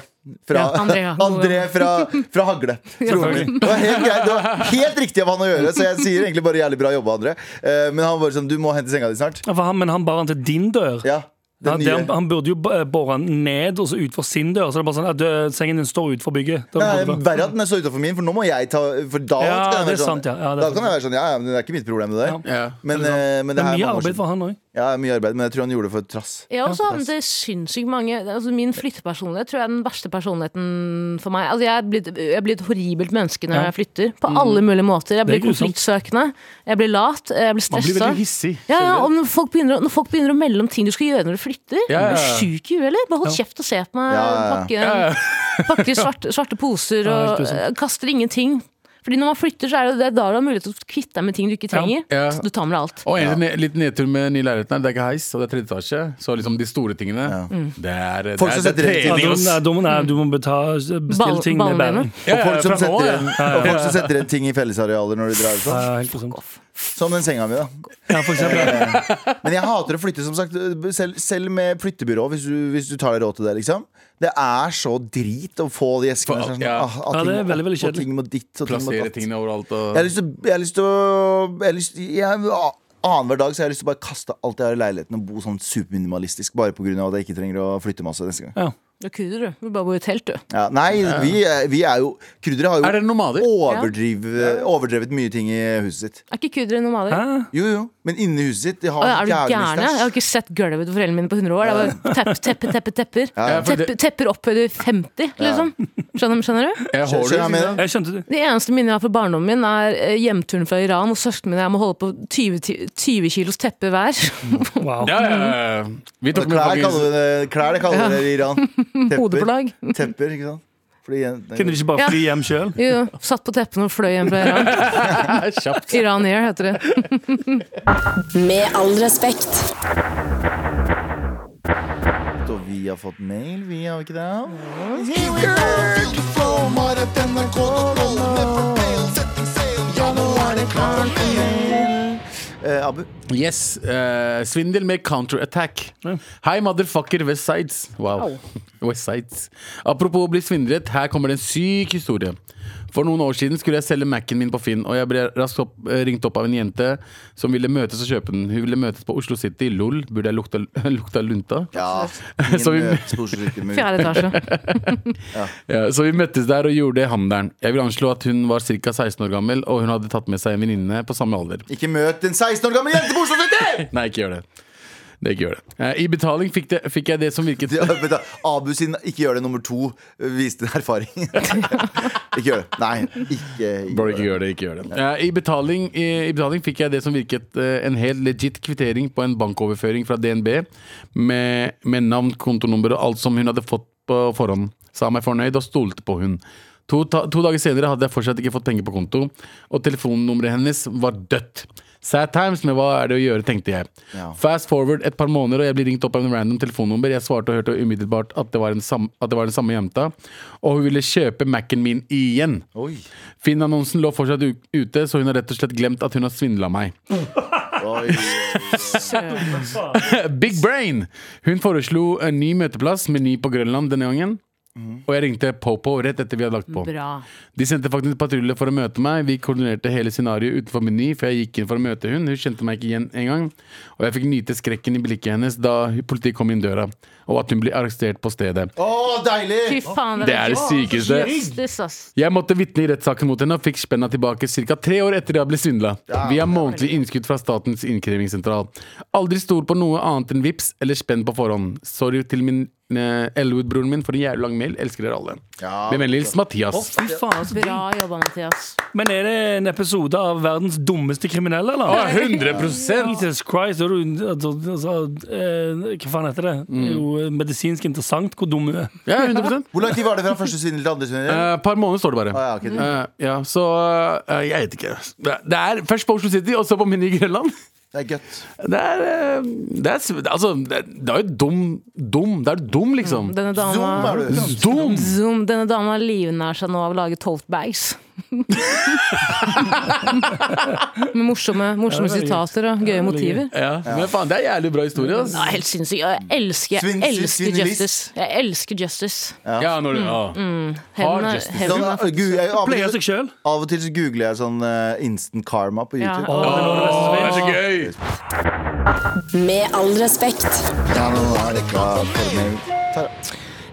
[SPEAKER 2] Fra,
[SPEAKER 4] Ja, André, ja.
[SPEAKER 2] André fra, fra
[SPEAKER 4] [LAUGHS]
[SPEAKER 2] Hagle. Broren min. Det var helt greit Det var helt riktig av han å gjøre, så jeg sier egentlig bare jævlig bra jobba, André. Eh, Men han var sånn Du må hente senga di snart.
[SPEAKER 3] Ja, for han, men han bar han til din dør.
[SPEAKER 2] Ja. Den
[SPEAKER 3] Ja, det, han,
[SPEAKER 2] nye.
[SPEAKER 3] han burde jo b- eh, bore den ned og så utfor sin dør. Så det er bare sånn at eh, sengen din står utenfor bygget. Det
[SPEAKER 2] Nei,
[SPEAKER 3] er bra.
[SPEAKER 2] Verre at den står utenfor min, for nå må jeg ta For da
[SPEAKER 3] Ja,
[SPEAKER 2] kan jeg
[SPEAKER 3] det
[SPEAKER 2] være
[SPEAKER 3] er
[SPEAKER 2] sånn,
[SPEAKER 3] sant, ja. Ja, det er
[SPEAKER 2] Da kan jeg være sånn Ja, ja, men det er ikke mitt problem, det der.
[SPEAKER 5] Ja.
[SPEAKER 2] Men, eh, men
[SPEAKER 3] Det
[SPEAKER 2] det,
[SPEAKER 3] er
[SPEAKER 2] her
[SPEAKER 3] mye
[SPEAKER 2] mange år
[SPEAKER 3] arbeid
[SPEAKER 2] siden.
[SPEAKER 3] for han òg.
[SPEAKER 2] Ja, mye arbeid, men jeg tror han gjorde det for trass.
[SPEAKER 4] Jeg også har havnet i altså, sinnssykt mange altså Min flyttepersonlighet tror jeg er den verste personligheten for meg. Altså jeg er blitt, jeg er blitt et horribelt menneske når
[SPEAKER 3] Ja.
[SPEAKER 4] jeg flytter.
[SPEAKER 5] Mm.
[SPEAKER 4] På alle mulige måter. Jeg
[SPEAKER 3] Det er
[SPEAKER 4] blir
[SPEAKER 3] grusomt.
[SPEAKER 4] konfliktsøkende. Jeg blir lat. Jeg blir
[SPEAKER 5] Man blir
[SPEAKER 4] stressa.
[SPEAKER 5] veldig hissig.
[SPEAKER 4] Ja, ja, og når folk, begynner, å- når folk begynner å melde om ting du skal gjøre når du flytter
[SPEAKER 5] Ja, ja,
[SPEAKER 4] Er du
[SPEAKER 5] ja.
[SPEAKER 4] sjuk i huet, eller? Bare hold kjeft og se på meg.
[SPEAKER 2] Ja,
[SPEAKER 4] Pakke, [LAUGHS] pakke i svarte, svarte
[SPEAKER 5] [LAUGHS]
[SPEAKER 4] poser
[SPEAKER 3] Ja, helt
[SPEAKER 4] og
[SPEAKER 3] tusen.
[SPEAKER 4] eh, kaster ingenting. Fordi når man flytter, så er det, det er da du har mulighet til å kvitte deg med ting du ikke trenger.
[SPEAKER 5] Ja.
[SPEAKER 4] Så du tar med deg alt.
[SPEAKER 5] Og en ne- litt nedtur med ny leiligheten her. Det er ikke heis, og det er tredje etasje. Så liksom de store tingene,
[SPEAKER 4] Mm.
[SPEAKER 5] det er,
[SPEAKER 2] Folk
[SPEAKER 5] det
[SPEAKER 2] som
[SPEAKER 5] er, det
[SPEAKER 2] setter
[SPEAKER 5] er
[SPEAKER 2] rett i
[SPEAKER 3] Ja,
[SPEAKER 5] trening.
[SPEAKER 3] du,
[SPEAKER 5] ass.
[SPEAKER 3] nei, du, må- nei, du må beta- bestille
[SPEAKER 4] Ball-
[SPEAKER 3] ting
[SPEAKER 4] ballene.
[SPEAKER 3] med bæren.
[SPEAKER 5] Ja,
[SPEAKER 2] Og folk som
[SPEAKER 5] fra nå,
[SPEAKER 2] setter
[SPEAKER 5] ja.
[SPEAKER 2] en, og folk som setter en ting i fellesarealer når de drar. og
[SPEAKER 3] Ja,
[SPEAKER 2] Sånn.
[SPEAKER 3] helt grusomt.
[SPEAKER 2] Som den senga mi, da.
[SPEAKER 3] Ja, for eksempel.
[SPEAKER 2] Men jeg hater å flytte, som sagt. Selv, selv med flyttebyrå, hvis du, hvis du tar deg råd til det. liksom Det er så drit å få de eskene.
[SPEAKER 5] For-
[SPEAKER 2] Sånn,
[SPEAKER 5] ja.
[SPEAKER 2] ah, ah,
[SPEAKER 3] Ja, det er
[SPEAKER 2] ting
[SPEAKER 3] veldig,
[SPEAKER 2] opp,
[SPEAKER 3] veldig
[SPEAKER 2] Og ting må ditt, og ting må
[SPEAKER 5] Plassere
[SPEAKER 2] datt.
[SPEAKER 5] tingene overalt
[SPEAKER 2] Sånn Jeg har
[SPEAKER 5] og
[SPEAKER 2] lyst til jeg har lyst til å jeg har lyst, jeg, a- Annenhver dag så har jeg lyst til å bare kaste alt jeg har i leiligheten og bo sånn superminimalistisk. Bare pga. at jeg ikke trenger å flytte masse neste gang.
[SPEAKER 3] Ja.
[SPEAKER 4] Du er kurder, du. Du vil bare bo i telt, du.
[SPEAKER 2] Ja, nei, vi, er- vi er jo Kryddere har
[SPEAKER 5] Er dere
[SPEAKER 2] jo
[SPEAKER 5] nomader?
[SPEAKER 2] overdrevet, overdrevet mye ting i huset sitt.
[SPEAKER 4] Er ikke kurdere nomader?
[SPEAKER 3] Hæ?
[SPEAKER 2] Jo, jo, men inni huset sitt De har
[SPEAKER 4] Å, er du
[SPEAKER 2] jævlig mye
[SPEAKER 4] gæren? ja? Jeg har
[SPEAKER 2] stæsj.
[SPEAKER 4] ikke sett gulvet til foreldrene mine på 100 år. Det er bare tepp, teppe, teppe, tepper.
[SPEAKER 5] ja, for det-
[SPEAKER 4] Teppe, tepper opphøyd i 50, liksom. Skjønner, skjønner du?
[SPEAKER 5] Jeg
[SPEAKER 2] Skjønner jeg
[SPEAKER 5] holder
[SPEAKER 2] mener?
[SPEAKER 3] Jeg skjønte det.
[SPEAKER 4] Det eneste minnet jeg har fra barndommen min, er eh, hjemturen fra Iran, hvor søsknene mine og jeg må holde på 20, ti- 20 kilos teppe hver. [LAUGHS]
[SPEAKER 3] Wow.
[SPEAKER 5] ja, ja, ja. Vi tok med
[SPEAKER 2] Klær kaller
[SPEAKER 5] faktisk
[SPEAKER 2] vi det klær, det kaller dere i
[SPEAKER 5] [LAUGHS]
[SPEAKER 2] Iran. Tepper,
[SPEAKER 4] Hodeplagg.
[SPEAKER 2] tepper ikke sant? Fordi,
[SPEAKER 3] Kunne de ikke bare fly hjem sjøl?
[SPEAKER 4] Jo, jo. Satt på teppene og fløy hjem fra Iran.
[SPEAKER 5] [LAUGHS] kjapt.
[SPEAKER 4] Iran Air heter det.
[SPEAKER 8] Med all respekt.
[SPEAKER 2] og vi har fått mail, vi har ikke det?
[SPEAKER 9] Here we go, feel the flow, might have been like all the road, never fail, setting sail, ja nå er det klart for mer.
[SPEAKER 2] Eh, Abu?
[SPEAKER 5] Yes. eh, svindel med counterattack. Hei, motherfucker West Sides. Wow. West Sides. Apropos å bli svindlet, her kommer det en syk historie. For noen år siden skulle jeg selge Mac-en min på Finn, og jeg ble raskt opp, eh, ringt opp av en jente som ville møtes og kjøpe den. Hun ville møtes på Oslo City. Lol, burde jeg lukta, [LAUGHS] lukta lunta?
[SPEAKER 2] Ja.
[SPEAKER 5] [LAUGHS] Så vi-
[SPEAKER 2] Ingen møtes på Oslo City, men vi-
[SPEAKER 4] Fjerde etasje.
[SPEAKER 5] Ja, så vi møttes der og gjorde handelen. Jeg vil anslå at hun var ca. 16 år gammel, og hun hadde tatt med seg en venninne på samme alder.
[SPEAKER 2] Ikke møt en 16 år gammel jente på Oslo City!
[SPEAKER 5] [LAUGHS] Nei, ikke gjør det. Det ikke gjør det. Eh, I betaling fikk, det, fikk jeg det som virket
[SPEAKER 2] Ja, vent da. Abu sin 'ikke gjør det' nummer to eh, viste en erfaring. [LAUGHS] ikke gjør det. Nei, ikke,
[SPEAKER 5] Bro, ikke gjør det, ikke gjør det. Eh, I, betaling, i, I betaling fikk jeg det som virket eh, en helt legit kvittering på en bankoverføring fra DNB med, med navn, kontonummer og alt som hun hadde fått på forhånd. Sa meg fornøyd og stolte på hun. To, ta, to dager senere hadde jeg fortsatt ikke fått penger på konto, og telefonnummeret hennes var dødt. Sad times, men hva er det å gjøre, tenkte jeg.
[SPEAKER 2] Ja.
[SPEAKER 5] Fast forward et par måneder, og jeg blir ringt opp av en random telefonnummer. Jeg svarte og hørte umiddelbart at det var, en sam, at det var den samme jenta, og hun ville kjøpe Mac-en min igjen.
[SPEAKER 2] Oi.
[SPEAKER 5] Finn-annonsen lå fortsatt u- ute, så hun har rett og slett glemt at hun har svindla meg.
[SPEAKER 2] Oi.
[SPEAKER 5] Big brain! Hun foreslo en ny møteplass, Meny på Grønland denne gangen. Og jeg ringte Popo rett etter vi hadde lagt på.
[SPEAKER 4] Bra.
[SPEAKER 5] De sendte faktisk patrulje for å møte meg. Vi koordinerte hele scenarioet utenfor Meny, for jeg gikk inn for å møte hun. Hun kjente meg ikke igjen engang. Og jeg fikk nyte skrekken i blikket hennes da politiet kom inn døra, og at hun ble arrestert på stedet.
[SPEAKER 2] Å,
[SPEAKER 4] Fy
[SPEAKER 2] deilig!
[SPEAKER 4] faen,
[SPEAKER 5] Det er det sykeste.
[SPEAKER 4] Justice, ass.
[SPEAKER 5] Jeg måtte vitne i rettssaken mot henne og fikk spenna tilbake ca. tre år etter jeg ble svindla. Via månedlig innskudd fra Statens innkrevingssentral. Aldri stol på noe annet enn vips eller spenn på forhånd. Sorry til min eh, Elwood-broren min for en jævlig lang mail. Elsker dere alle.
[SPEAKER 2] Ja.
[SPEAKER 5] Med vennlig hils Mathias.
[SPEAKER 3] Fy faen, så
[SPEAKER 4] Bra jobba, Mathias.
[SPEAKER 3] Men er det en episode av verdens dummeste kriminelle,
[SPEAKER 5] Å, 100
[SPEAKER 3] eller? Jesus Christ, er du, altså, altså, eh, hva faen heter det? Det er jo eh, medisinsk interessant hvor dum du er.
[SPEAKER 5] Mm. Ja, 100
[SPEAKER 2] Hvor lang tid var det fra første svindel til andre svindel?
[SPEAKER 5] Eh, par måneder står det bare.
[SPEAKER 2] Ah, ja, ok.
[SPEAKER 5] Eh, ja, så eh, jeg vet ikke. Det, det er først på Oslo City, og så på Mini Grønland.
[SPEAKER 2] Det er gøtt.
[SPEAKER 5] Det er, eh, det er, sv- altså, det, det er jo dum, dum. Det er dum, liksom.
[SPEAKER 4] Denne
[SPEAKER 2] Zoom
[SPEAKER 4] dama
[SPEAKER 2] er du.
[SPEAKER 5] Dum!
[SPEAKER 4] Zoom, denne dama livnær seg nå av å lage
[SPEAKER 3] [LAUGHS]
[SPEAKER 4] toftbags. Med morsomme, morsomme
[SPEAKER 3] Ja, det er
[SPEAKER 4] sitater og gøye motiver.
[SPEAKER 5] Ja. Men faen, det er jævlig bra historie, ass.
[SPEAKER 4] Ja, helt sinnssykt. Jeg elsker,
[SPEAKER 2] Svin-
[SPEAKER 4] jeg elsker
[SPEAKER 2] svindelist.
[SPEAKER 4] Justice. Jeg elsker Justice.
[SPEAKER 5] Ja, når du, ja. Hard
[SPEAKER 4] Hevn er-
[SPEAKER 5] justice.
[SPEAKER 4] hevn
[SPEAKER 2] Sånn,
[SPEAKER 4] er-
[SPEAKER 2] eh, Gud, jeg, av, og
[SPEAKER 3] Pleier
[SPEAKER 2] til,
[SPEAKER 3] seg sjøl.
[SPEAKER 2] av og til så googler jeg sånn eh, instant karma på
[SPEAKER 4] Ja.
[SPEAKER 2] YouTube.
[SPEAKER 3] Å, det er noe av det beste som
[SPEAKER 5] Åh,
[SPEAKER 3] finnes.
[SPEAKER 5] det er så gøy!
[SPEAKER 8] Med all respekt.
[SPEAKER 2] Ja, nå er det klart for meg. Tara.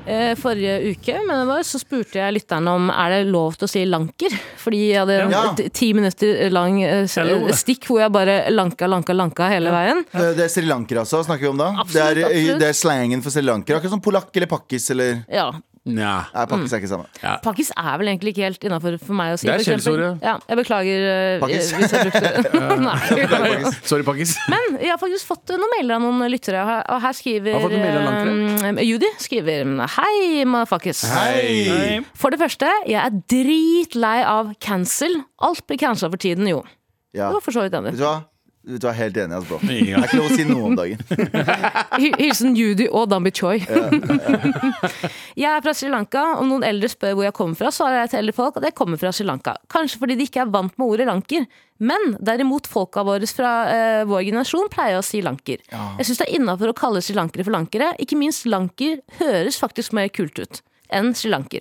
[SPEAKER 4] eh, forrige uke, men det var, så spurte jeg lytteren om er det lov til å si lanker. Fordi jeg hadde en
[SPEAKER 2] Ja.
[SPEAKER 4] t- ti minutter lang eh, s-
[SPEAKER 3] Hello.
[SPEAKER 4] stikk hvor jeg bare lanka, lanka, lanka hele veien.
[SPEAKER 2] Eh, Det er Sri Lanker altså, snakker vi om da
[SPEAKER 4] Absolutt,
[SPEAKER 2] det, er, eh,
[SPEAKER 4] absolutt.
[SPEAKER 2] det er slangen for Sri Lanker Akkurat som polakk eller pakkis eller...
[SPEAKER 4] Ja,
[SPEAKER 5] Nja.
[SPEAKER 2] Nei,
[SPEAKER 4] Mm.
[SPEAKER 2] pakkis er ikke samme
[SPEAKER 4] Pakkis er vel egentlig ikke helt innafor for meg å si.
[SPEAKER 5] Det er
[SPEAKER 4] for eksempel.
[SPEAKER 5] skjellsordet.
[SPEAKER 4] Ja, jeg beklager eh,
[SPEAKER 2] Pakkis.
[SPEAKER 4] hvis
[SPEAKER 5] [LAUGHS]
[SPEAKER 4] jeg brukte Nei.
[SPEAKER 5] Sorry, pakkis.
[SPEAKER 4] Men jeg har faktisk fått noen mailer av noen lyttere, og her- og her
[SPEAKER 5] Har
[SPEAKER 4] skriver
[SPEAKER 5] fått noen mailer langt
[SPEAKER 4] eh, Judy skriver Hei, motherfuckers.
[SPEAKER 2] Hei!
[SPEAKER 3] Nei.
[SPEAKER 4] For det første, jeg er dritlei av cancel. Alt blir cancela for tiden, jo.
[SPEAKER 2] Ja.
[SPEAKER 4] Det var for så vidt
[SPEAKER 2] Vet
[SPEAKER 4] enig.
[SPEAKER 2] du hva? Vet du hva? Helt enig, altså, bro Det
[SPEAKER 5] Ja.
[SPEAKER 2] er ikke lov å si noe om dagen
[SPEAKER 4] Hi- Hilsen Judy og Dambi Choi. [LAUGHS] jeg er fra Sri Lanka. Om noen eldre spør hvor jeg kommer fra, svarer jeg til eldre folk at jeg kommer fra Sri Lanka. Kanskje fordi de ikke er vant med ordet lanker. Men derimot folka våre fra eh, vår generasjon pleier å si lanker. Jeg syns det er innafor å kalle srilankere for lankere. Ikke minst lanker høres faktisk mer kult ut. enn Sri Lanker.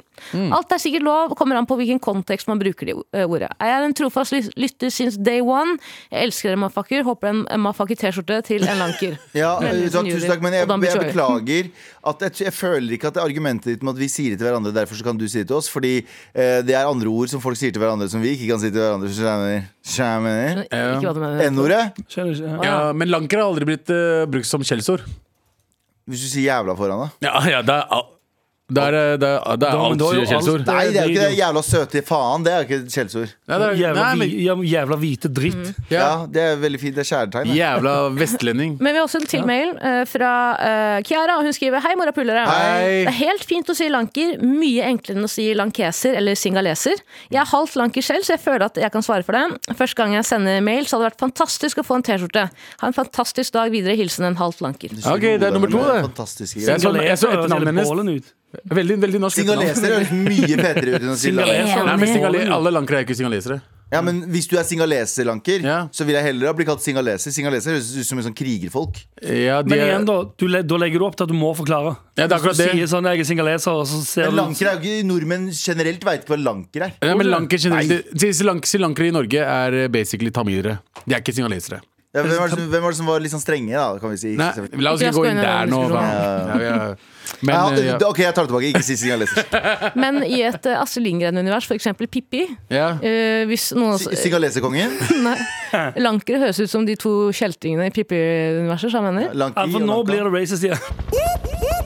[SPEAKER 4] Alt er sikkert lov, kommer an på hvilken kontekst man bruker det eh, ordet. Jeg er en trofast lys- lytter since day one. Jeg elsker dere, mafakker. Håper en en mafakker-T-skjorte til en lanker.
[SPEAKER 2] ja,
[SPEAKER 4] Veldig
[SPEAKER 2] vet du hva?
[SPEAKER 4] finurlig.
[SPEAKER 2] Tusen takk, men jeg,
[SPEAKER 4] Og da
[SPEAKER 2] jeg
[SPEAKER 4] beklager.
[SPEAKER 2] beklager at jeg, jeg føler ikke at det er argumentet ditt med at vi sier det til hverandre Derfor så kan du si det til oss Fordi eh, det er andre ord som folk sier til hverandre Som vi ikke kan si til hverandre Skjønner- Skjønner
[SPEAKER 4] Ikke hva du mener.
[SPEAKER 2] N-ordet
[SPEAKER 3] Skjønner ikke.
[SPEAKER 5] Ja, men lanker har aldri blitt eh, brukt som skjellsord.
[SPEAKER 2] Hvis du sier jævla foran da
[SPEAKER 5] Ja, ja, det er, al- det er, eh, det er, det er
[SPEAKER 3] Da- men
[SPEAKER 5] alt
[SPEAKER 3] da er jo alt-
[SPEAKER 5] skjellsord.
[SPEAKER 2] Nei, det er jo ikke det
[SPEAKER 3] dritt,
[SPEAKER 2] jævla søte faen Det er jo ikke et skjellsord
[SPEAKER 5] Nei, det er-
[SPEAKER 3] Jævla,
[SPEAKER 5] nei,
[SPEAKER 3] vi,
[SPEAKER 5] men-
[SPEAKER 3] ja, jævla hvite
[SPEAKER 4] Mm.
[SPEAKER 3] dritt.
[SPEAKER 5] ja,
[SPEAKER 2] Ja, det er veldig fint, det er kjæretegn det.
[SPEAKER 5] Jævla vestlending.
[SPEAKER 4] Men vi har også en til mail eh, fra eh, Kiara, og hun skriver Hei, morapulere.
[SPEAKER 5] Hei.
[SPEAKER 4] Det er helt fint å si lanker. Mye enklere enn å si lankeser eller singaleser. Jeg er halvt lanker selv, så jeg føler at jeg kan svare for det. Første gang jeg sender mail, så hadde det vært fantastisk å få en T-skjorte. Ha en fantastisk dag videre. Hilsen en halvt
[SPEAKER 2] [LAUGHS]
[SPEAKER 4] lanker.
[SPEAKER 5] Ok, det er sånn nummer to, det.
[SPEAKER 2] Fantastiske
[SPEAKER 5] Jeg så, jeg så etternavnet hennes.
[SPEAKER 3] hennes.
[SPEAKER 5] Veldig, veldig norsk. etternavn.
[SPEAKER 2] Singaleser høres mye fetere ut enn å si lanker.
[SPEAKER 5] Nei, men singale, alle lankere er ikke singalesere.
[SPEAKER 2] Ja, men hvis du er singaleser-lanker,
[SPEAKER 5] Ja.
[SPEAKER 2] så vil jeg heller ha blitt kalt singaleser. Singaleser høres ut som en sånn krigerfolk.
[SPEAKER 5] Ja, de
[SPEAKER 3] Men
[SPEAKER 5] er,
[SPEAKER 3] igjen, da, du, le- da legger du opp til at du må forklare.
[SPEAKER 5] Ja, det er akkurat
[SPEAKER 3] Hvis du
[SPEAKER 5] det.
[SPEAKER 3] sier sånn, jeg er singaleser, og så ser
[SPEAKER 2] Men
[SPEAKER 3] du
[SPEAKER 2] lanker er jo ikke Nordmenn generelt veit ikke hva lanker er.
[SPEAKER 5] ja, men lanker generelt Sri- Sri Lank- Sri Lankere i Norge er eh, basically tamilere. De er ikke singalesere.
[SPEAKER 2] Ja, hvem, var det som, hvem var det som var litt sånn strenge, da? Kan vi si.
[SPEAKER 5] Nei, la oss
[SPEAKER 4] Ikke
[SPEAKER 5] ikke gå inn
[SPEAKER 4] jeg skal
[SPEAKER 5] der
[SPEAKER 4] inn i
[SPEAKER 5] nå.
[SPEAKER 4] den
[SPEAKER 5] hva? Ja, ja. Men eh,
[SPEAKER 2] ja,
[SPEAKER 5] ja.
[SPEAKER 2] ok, jeg tar det tilbake. Ikke si
[SPEAKER 5] [LAUGHS]
[SPEAKER 2] singaleser.
[SPEAKER 4] Men i et eh, Astrid Lindgren-univers, f.eks. Pippi
[SPEAKER 5] ja.
[SPEAKER 4] eh, Hvis noen
[SPEAKER 2] Si- Singaleserkongen.
[SPEAKER 4] [LAUGHS] Nei. Lankere høres ut som de to kjeltringene i Pippi-universet, som jeg mener.
[SPEAKER 2] Lanki
[SPEAKER 3] Ja, for nå
[SPEAKER 2] og lanka.
[SPEAKER 3] blir det racist igjen.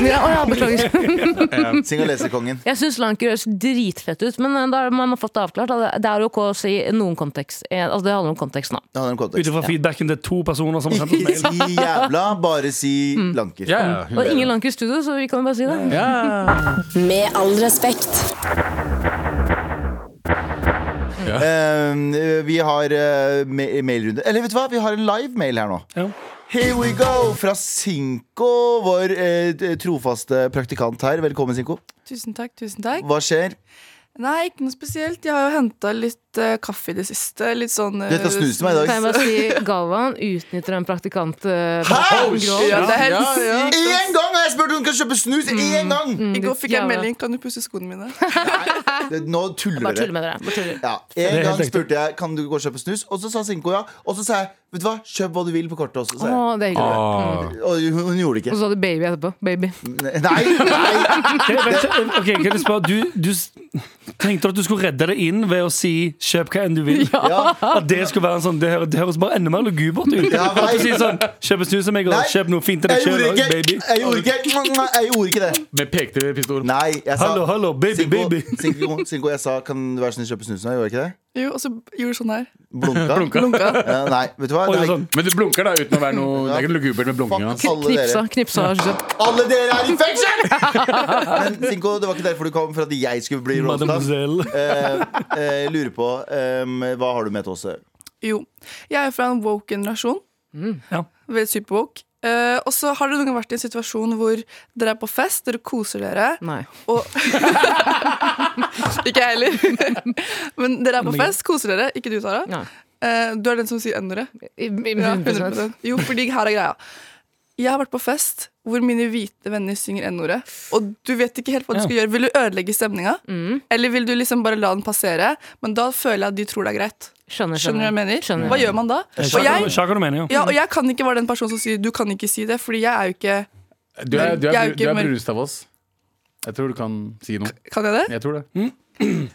[SPEAKER 4] Ja, å ja, beklager.
[SPEAKER 2] Singaleserkongen.
[SPEAKER 4] Jeg syns lanker høres dritfett ut, men eh, da har man fått det avklart. at Det er ok å si noen kontekst. Eh, Altså, det handler om kontekst nå.
[SPEAKER 2] Det handler om
[SPEAKER 3] Ut
[SPEAKER 2] kontekst.
[SPEAKER 3] ifra feedbacken til to personer som har sendt
[SPEAKER 5] [LAUGHS]
[SPEAKER 3] oss
[SPEAKER 2] Ikke
[SPEAKER 3] mail.
[SPEAKER 2] si jævla, bare si lanker.
[SPEAKER 5] Mm. Ja,
[SPEAKER 4] Og
[SPEAKER 5] ja.
[SPEAKER 4] ingen lanker i studio, så vi kan bare si det.
[SPEAKER 5] ja.
[SPEAKER 8] Med all respekt.
[SPEAKER 2] Eh, vi har eh, ma- mailrunde. Eller vet du hva, vi har en live mail her nå.
[SPEAKER 3] Ja.
[SPEAKER 2] Here we go fra Sinko, vår eh, trofaste praktikant her. Velkommen, Sinko.
[SPEAKER 10] Tusen takk, tusen takk.
[SPEAKER 2] Hva skjer?
[SPEAKER 10] Nei, ikke noe spesielt. Jeg har jo henta litt eh, kaffe i det siste. Litt sånn
[SPEAKER 2] Du vet å snuse meg i
[SPEAKER 4] Kan jeg
[SPEAKER 2] dag.
[SPEAKER 4] bare si Galvan utnytter en praktikant eh,
[SPEAKER 2] Hæ?
[SPEAKER 4] Grov.
[SPEAKER 10] Ja, det er helt
[SPEAKER 5] Ja, ja.
[SPEAKER 10] sykt. ass.
[SPEAKER 2] Én gang har jeg spurt om hun kan kjøpe snus!
[SPEAKER 5] Mm.
[SPEAKER 2] Én gang!
[SPEAKER 10] I går fikk jeg en
[SPEAKER 4] Jævla.
[SPEAKER 10] melding. Kan du pusse skoene mine?
[SPEAKER 2] Det- Nå tuller
[SPEAKER 4] Bare tuller
[SPEAKER 2] dere.
[SPEAKER 4] med dere. Bare tuller.
[SPEAKER 2] Ja,
[SPEAKER 3] Det
[SPEAKER 2] En
[SPEAKER 3] er helt
[SPEAKER 2] gang spurte jeg Kan du gå og kjøpe snus, og så sa Sinko ja. Og så sa jeg vet du hva, kjøp hva du vil på kortet også.
[SPEAKER 10] altså.
[SPEAKER 2] Sa jeg.
[SPEAKER 4] Å, det er hyggelig.
[SPEAKER 5] Ah.
[SPEAKER 2] Og hun, hun gjorde det
[SPEAKER 4] Og
[SPEAKER 2] ikke.
[SPEAKER 4] så hadde baby etterpå. Baby.
[SPEAKER 2] Nei, nei.
[SPEAKER 3] Ok, vent, ok, kan jeg spørre, du, du s- tenkte at du skulle redde det inn ved å si 'kjøp hva enn du
[SPEAKER 5] [LAUGHS]
[SPEAKER 3] vil'?
[SPEAKER 2] Ja.
[SPEAKER 3] At det skulle være en sånn, det, hø- det høres bare enda mer lugubert ut.
[SPEAKER 2] Ja,
[SPEAKER 3] at
[SPEAKER 2] nei.
[SPEAKER 3] du sier sånn 'kjøp en snus av meg, og
[SPEAKER 2] Nei.
[SPEAKER 3] kjøp noe fint til deg
[SPEAKER 2] Jeg gjorde
[SPEAKER 3] sjøl',
[SPEAKER 2] ikke
[SPEAKER 3] baby.
[SPEAKER 2] Jeg gjorde ikke, jeg gjorde ikke det.
[SPEAKER 5] Med pekte pistol.
[SPEAKER 2] Nei, jeg sa
[SPEAKER 3] Hallo, hallo, baby,
[SPEAKER 2] Sinko,
[SPEAKER 3] baby. [LAUGHS]
[SPEAKER 2] Sinko, Sinko, jeg sa kan du være snill kjøpe snus nå? Jeg Gjorde jeg ikke det?
[SPEAKER 10] Jo, og så gjorde du sånn her.
[SPEAKER 3] [LAUGHS]
[SPEAKER 2] Blunka?
[SPEAKER 10] Blunka.
[SPEAKER 2] Eh, nei, vet du hva?
[SPEAKER 3] Oi,
[SPEAKER 2] Det er-
[SPEAKER 3] sånn.
[SPEAKER 5] Men du blunker da uten å være noe Det er ikke noe lugubert med
[SPEAKER 2] Fuck
[SPEAKER 5] blunkinga.
[SPEAKER 2] alle
[SPEAKER 4] Knipsa.
[SPEAKER 2] dere.
[SPEAKER 4] knipsa
[SPEAKER 2] Alle dere er i fengsel! [LAUGHS] Men Sinko, det var ikke derfor du kom, for at jeg skulle bli roasta.
[SPEAKER 3] Mademoiselle.
[SPEAKER 2] Eh, eh, lurer på eh, Hva har du med til oss?
[SPEAKER 10] Jo. Jeg er fra en woke-generasjon.
[SPEAKER 3] ja.
[SPEAKER 10] Ved Superwoke. Eh, og så har dere noen gang vært i en situasjon hvor dere er på fest, dere koser dere,
[SPEAKER 4] Nei.
[SPEAKER 10] og Ikke jeg heller. Men dere er på fest, koser dere. Ikke du, Sara.
[SPEAKER 4] Nei.
[SPEAKER 10] Eh, du er den som sier n-ordet.
[SPEAKER 4] I, i,
[SPEAKER 10] Ja,
[SPEAKER 4] 100%.
[SPEAKER 10] 100%. Jo, fordi her er greia. Jeg har vært på fest hvor mine hvite venner synger N-ordet, og du vet ikke helt hva du
[SPEAKER 3] Ja.
[SPEAKER 10] skal gjøre. Vil du ødelegge stemninga, eller vil du liksom bare la den passere? Men da føler jeg at de tror det er greit.
[SPEAKER 4] Skjønner,
[SPEAKER 10] Skjønner du hva jeg mener? Hva gjør man da?
[SPEAKER 3] Jeg
[SPEAKER 10] Og
[SPEAKER 3] skjønner
[SPEAKER 10] jeg,
[SPEAKER 3] skjønner hva du mener,
[SPEAKER 10] ja, og jeg kan ikke være den personen som sier 'du kan ikke si det', fordi jeg er jo ikke
[SPEAKER 5] Du er, du er,
[SPEAKER 10] Jeg er jo
[SPEAKER 5] bru- du
[SPEAKER 10] ikke
[SPEAKER 5] er
[SPEAKER 10] mørk.
[SPEAKER 5] brunest av oss. Jeg tror du kan si noe.
[SPEAKER 10] Kan jeg det?
[SPEAKER 5] Jeg tror det.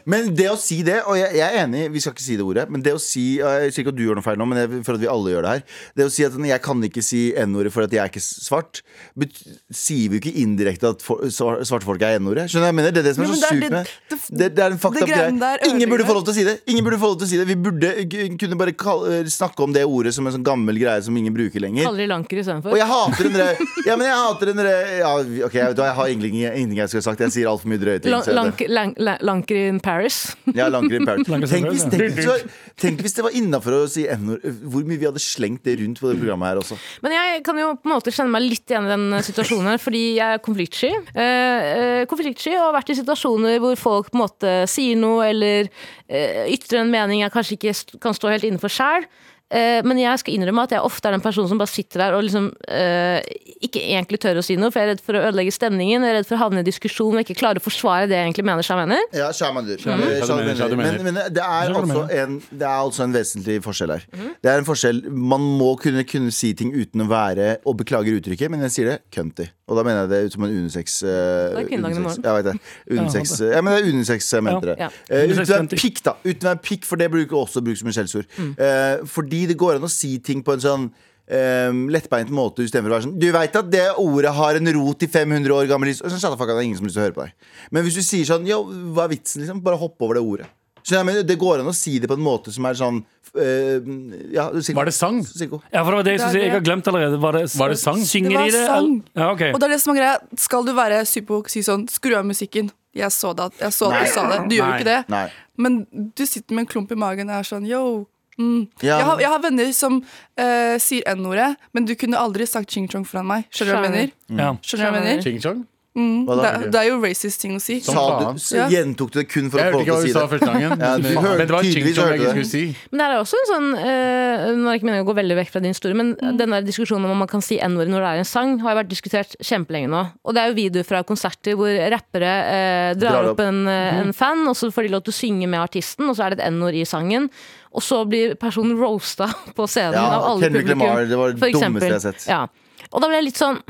[SPEAKER 2] Men det å si det, og jeg, jeg er enig, vi skal ikke si det ordet, men det å si og Jeg sier ikke at du gjør noe feil nå, men jeg, for at vi alle gjør det her. Det å si at jeg kan ikke si N-ordet for at jeg er ikke svart, bet, sier vi jo ikke indirekte at for, svar- svarte folk er N-ordet. Skjønner du hva jeg mener? Det er det som er
[SPEAKER 10] Jo,
[SPEAKER 2] så
[SPEAKER 10] men det er
[SPEAKER 2] sykt med
[SPEAKER 10] litt-
[SPEAKER 2] det.
[SPEAKER 10] det-
[SPEAKER 2] Det, er en fucked
[SPEAKER 10] det
[SPEAKER 2] up greie.
[SPEAKER 10] greiene der
[SPEAKER 2] Ingen
[SPEAKER 10] ødelegger.
[SPEAKER 2] burde få lov til å si det. Ingen burde få lov til å si det. Vi burde k- kunne bare kall, eh, snakke om det ordet som en sånn gammel greie som ingen bruker lenger.
[SPEAKER 4] Kaller de lanker istedenfor.
[SPEAKER 2] Og jeg hater den der Ja, men jeg hater den der ja, Ok, jeg, vet hva, jeg har egentlig ingen- ingenting jeg skulle ha sagt. Jeg sier altfor mye drøye ting. så jeg-
[SPEAKER 4] Lanker, lang, la- lanker in Paris.
[SPEAKER 2] ja, Langrenn i Paris.
[SPEAKER 3] Langrenn i
[SPEAKER 2] Tenk,
[SPEAKER 3] Paris,
[SPEAKER 2] hvis,
[SPEAKER 3] ja.
[SPEAKER 2] tenk, hvis det var- tenk hvis det var innafor å si N-ord. Hvor mye vi hadde slengt det rundt på det programmet her også.
[SPEAKER 4] Men jeg kan jo på en måte kjenne meg litt igjen i den eh, situasjonen her, fordi jeg er konfliktsky. Eh, eh, konfliktsky og har vært i situasjoner hvor folk på en måte sier noe eller eh, ytrer en mening jeg kanskje ikke st- kan stå helt innenfor sjæl. Men jeg skal innrømme at jeg ofte er den personen som bare sitter der og liksom eh, ikke egentlig tør å si noe, for jeg er redd for å ødelegge stemningen, jeg er redd for å havne i diskusjon og ikke klare å forsvare det jeg egentlig mener. Seg mener.
[SPEAKER 2] Ja, Shamander.
[SPEAKER 5] Shaman,
[SPEAKER 2] Eh,
[SPEAKER 5] Shaman,
[SPEAKER 2] Shaman.
[SPEAKER 5] Shaman.
[SPEAKER 2] Men, men det, er
[SPEAKER 3] Shaman.
[SPEAKER 2] altså en, det er altså en vesentlig forskjell her.
[SPEAKER 4] Mhm.
[SPEAKER 2] Det er en forskjell Man må kunne, kunne si ting uten å være Og beklager uttrykket, men jeg sier det cunty. Og da mener jeg det ut som en unisex. eh,
[SPEAKER 4] Det er kvinnedagen i
[SPEAKER 2] unisex-
[SPEAKER 4] morgen.
[SPEAKER 2] jeg vet det. Unisex, eh, ja, men det er unisex jeg mente det.
[SPEAKER 4] Ja.
[SPEAKER 2] Eh,
[SPEAKER 3] Unisex
[SPEAKER 2] uten å
[SPEAKER 3] cunty.
[SPEAKER 2] være pikk, da. Uten å være pikk, for det bruker også brukes som et skjellsord.
[SPEAKER 5] Mm.
[SPEAKER 2] Eh, fordi det går an å si ting på en sånn Um, lettbeint måte istedenfor å være sånn Du veit at det ordet har en rot i 500 år gammel his- Sånn, shut the fuck up, det er ingen som har lyst til å høre på deg. Men hvis du sier sånn Yo, hva er vitsen, liksom? Bare hopp over det ordet. Så jeg mener, Det går an å si det på en måte som er sånn eh, ja, Siggo.
[SPEAKER 5] Var det sang?
[SPEAKER 2] Siggo.
[SPEAKER 3] Ja, for det var det jeg skulle
[SPEAKER 10] Det er
[SPEAKER 3] si. Jeg
[SPEAKER 10] det.
[SPEAKER 3] har glemt allerede. Var det,
[SPEAKER 5] Var det sang?
[SPEAKER 3] Synger
[SPEAKER 10] Det var
[SPEAKER 3] de det?
[SPEAKER 10] sang.
[SPEAKER 3] eller- Ja, ok.
[SPEAKER 10] Og det er det som er greia. Skal du være sypo og si sånn 'skru av musikken', jeg så det, at- jeg så at
[SPEAKER 2] Nei.
[SPEAKER 10] du sa det. Du gjør jo
[SPEAKER 5] Nei.
[SPEAKER 10] ikke det.
[SPEAKER 2] Nei.
[SPEAKER 10] Men du sitter med en klump i magen og er sånn yo. Mm.
[SPEAKER 2] Ja.
[SPEAKER 10] Jeg, har, jeg har venner som eh, sier N-ordet, men du kunne aldri sagt ching-chong foran meg. Skjønner du hva jeg mener?
[SPEAKER 3] ja.
[SPEAKER 10] Skjønner du hva jeg
[SPEAKER 4] Skjønner.
[SPEAKER 10] mener?
[SPEAKER 5] Ching Chong?
[SPEAKER 2] Hva
[SPEAKER 10] Det,
[SPEAKER 2] da?
[SPEAKER 10] er- det er jo racist ting å si.
[SPEAKER 5] Som
[SPEAKER 2] Sa du,
[SPEAKER 5] faen.
[SPEAKER 2] s-
[SPEAKER 10] Ja.
[SPEAKER 2] Gjentok du det kun for
[SPEAKER 5] Jeg
[SPEAKER 2] å få
[SPEAKER 5] hørte
[SPEAKER 2] folk
[SPEAKER 5] ikke hva
[SPEAKER 2] til
[SPEAKER 5] du sa
[SPEAKER 2] å si det?
[SPEAKER 5] første [LAUGHS] gangen.
[SPEAKER 2] Ja, du hørte-
[SPEAKER 5] Men det var Ching
[SPEAKER 2] tydeligvis
[SPEAKER 5] Chong jeg
[SPEAKER 2] hørte det.
[SPEAKER 5] ikke skulle si.
[SPEAKER 4] Men det er også en sånn eh, Nå er det ikke meningen å gå veldig vekk fra din historie, men
[SPEAKER 2] Mm.
[SPEAKER 4] den der diskusjonen om om man kan si n-ordet når det er en sang, har jo vært diskutert kjempelenge nå. Og det er jo videoer fra konserter hvor rappere eh, drar,
[SPEAKER 2] Drar opp. Mm.
[SPEAKER 4] opp en, eh, en fan, og så får de lov til å synge med artisten, og så er det et n-ord i sangen. Og så blir personen roasta [LAUGHS] på scenen
[SPEAKER 2] Ja,
[SPEAKER 4] av alle
[SPEAKER 2] Kendrick
[SPEAKER 4] publikum.
[SPEAKER 2] Lamar, det var det
[SPEAKER 4] for eksempel.
[SPEAKER 2] dummeste jeg har sett.
[SPEAKER 4] Ja. Og da ble jeg litt sånn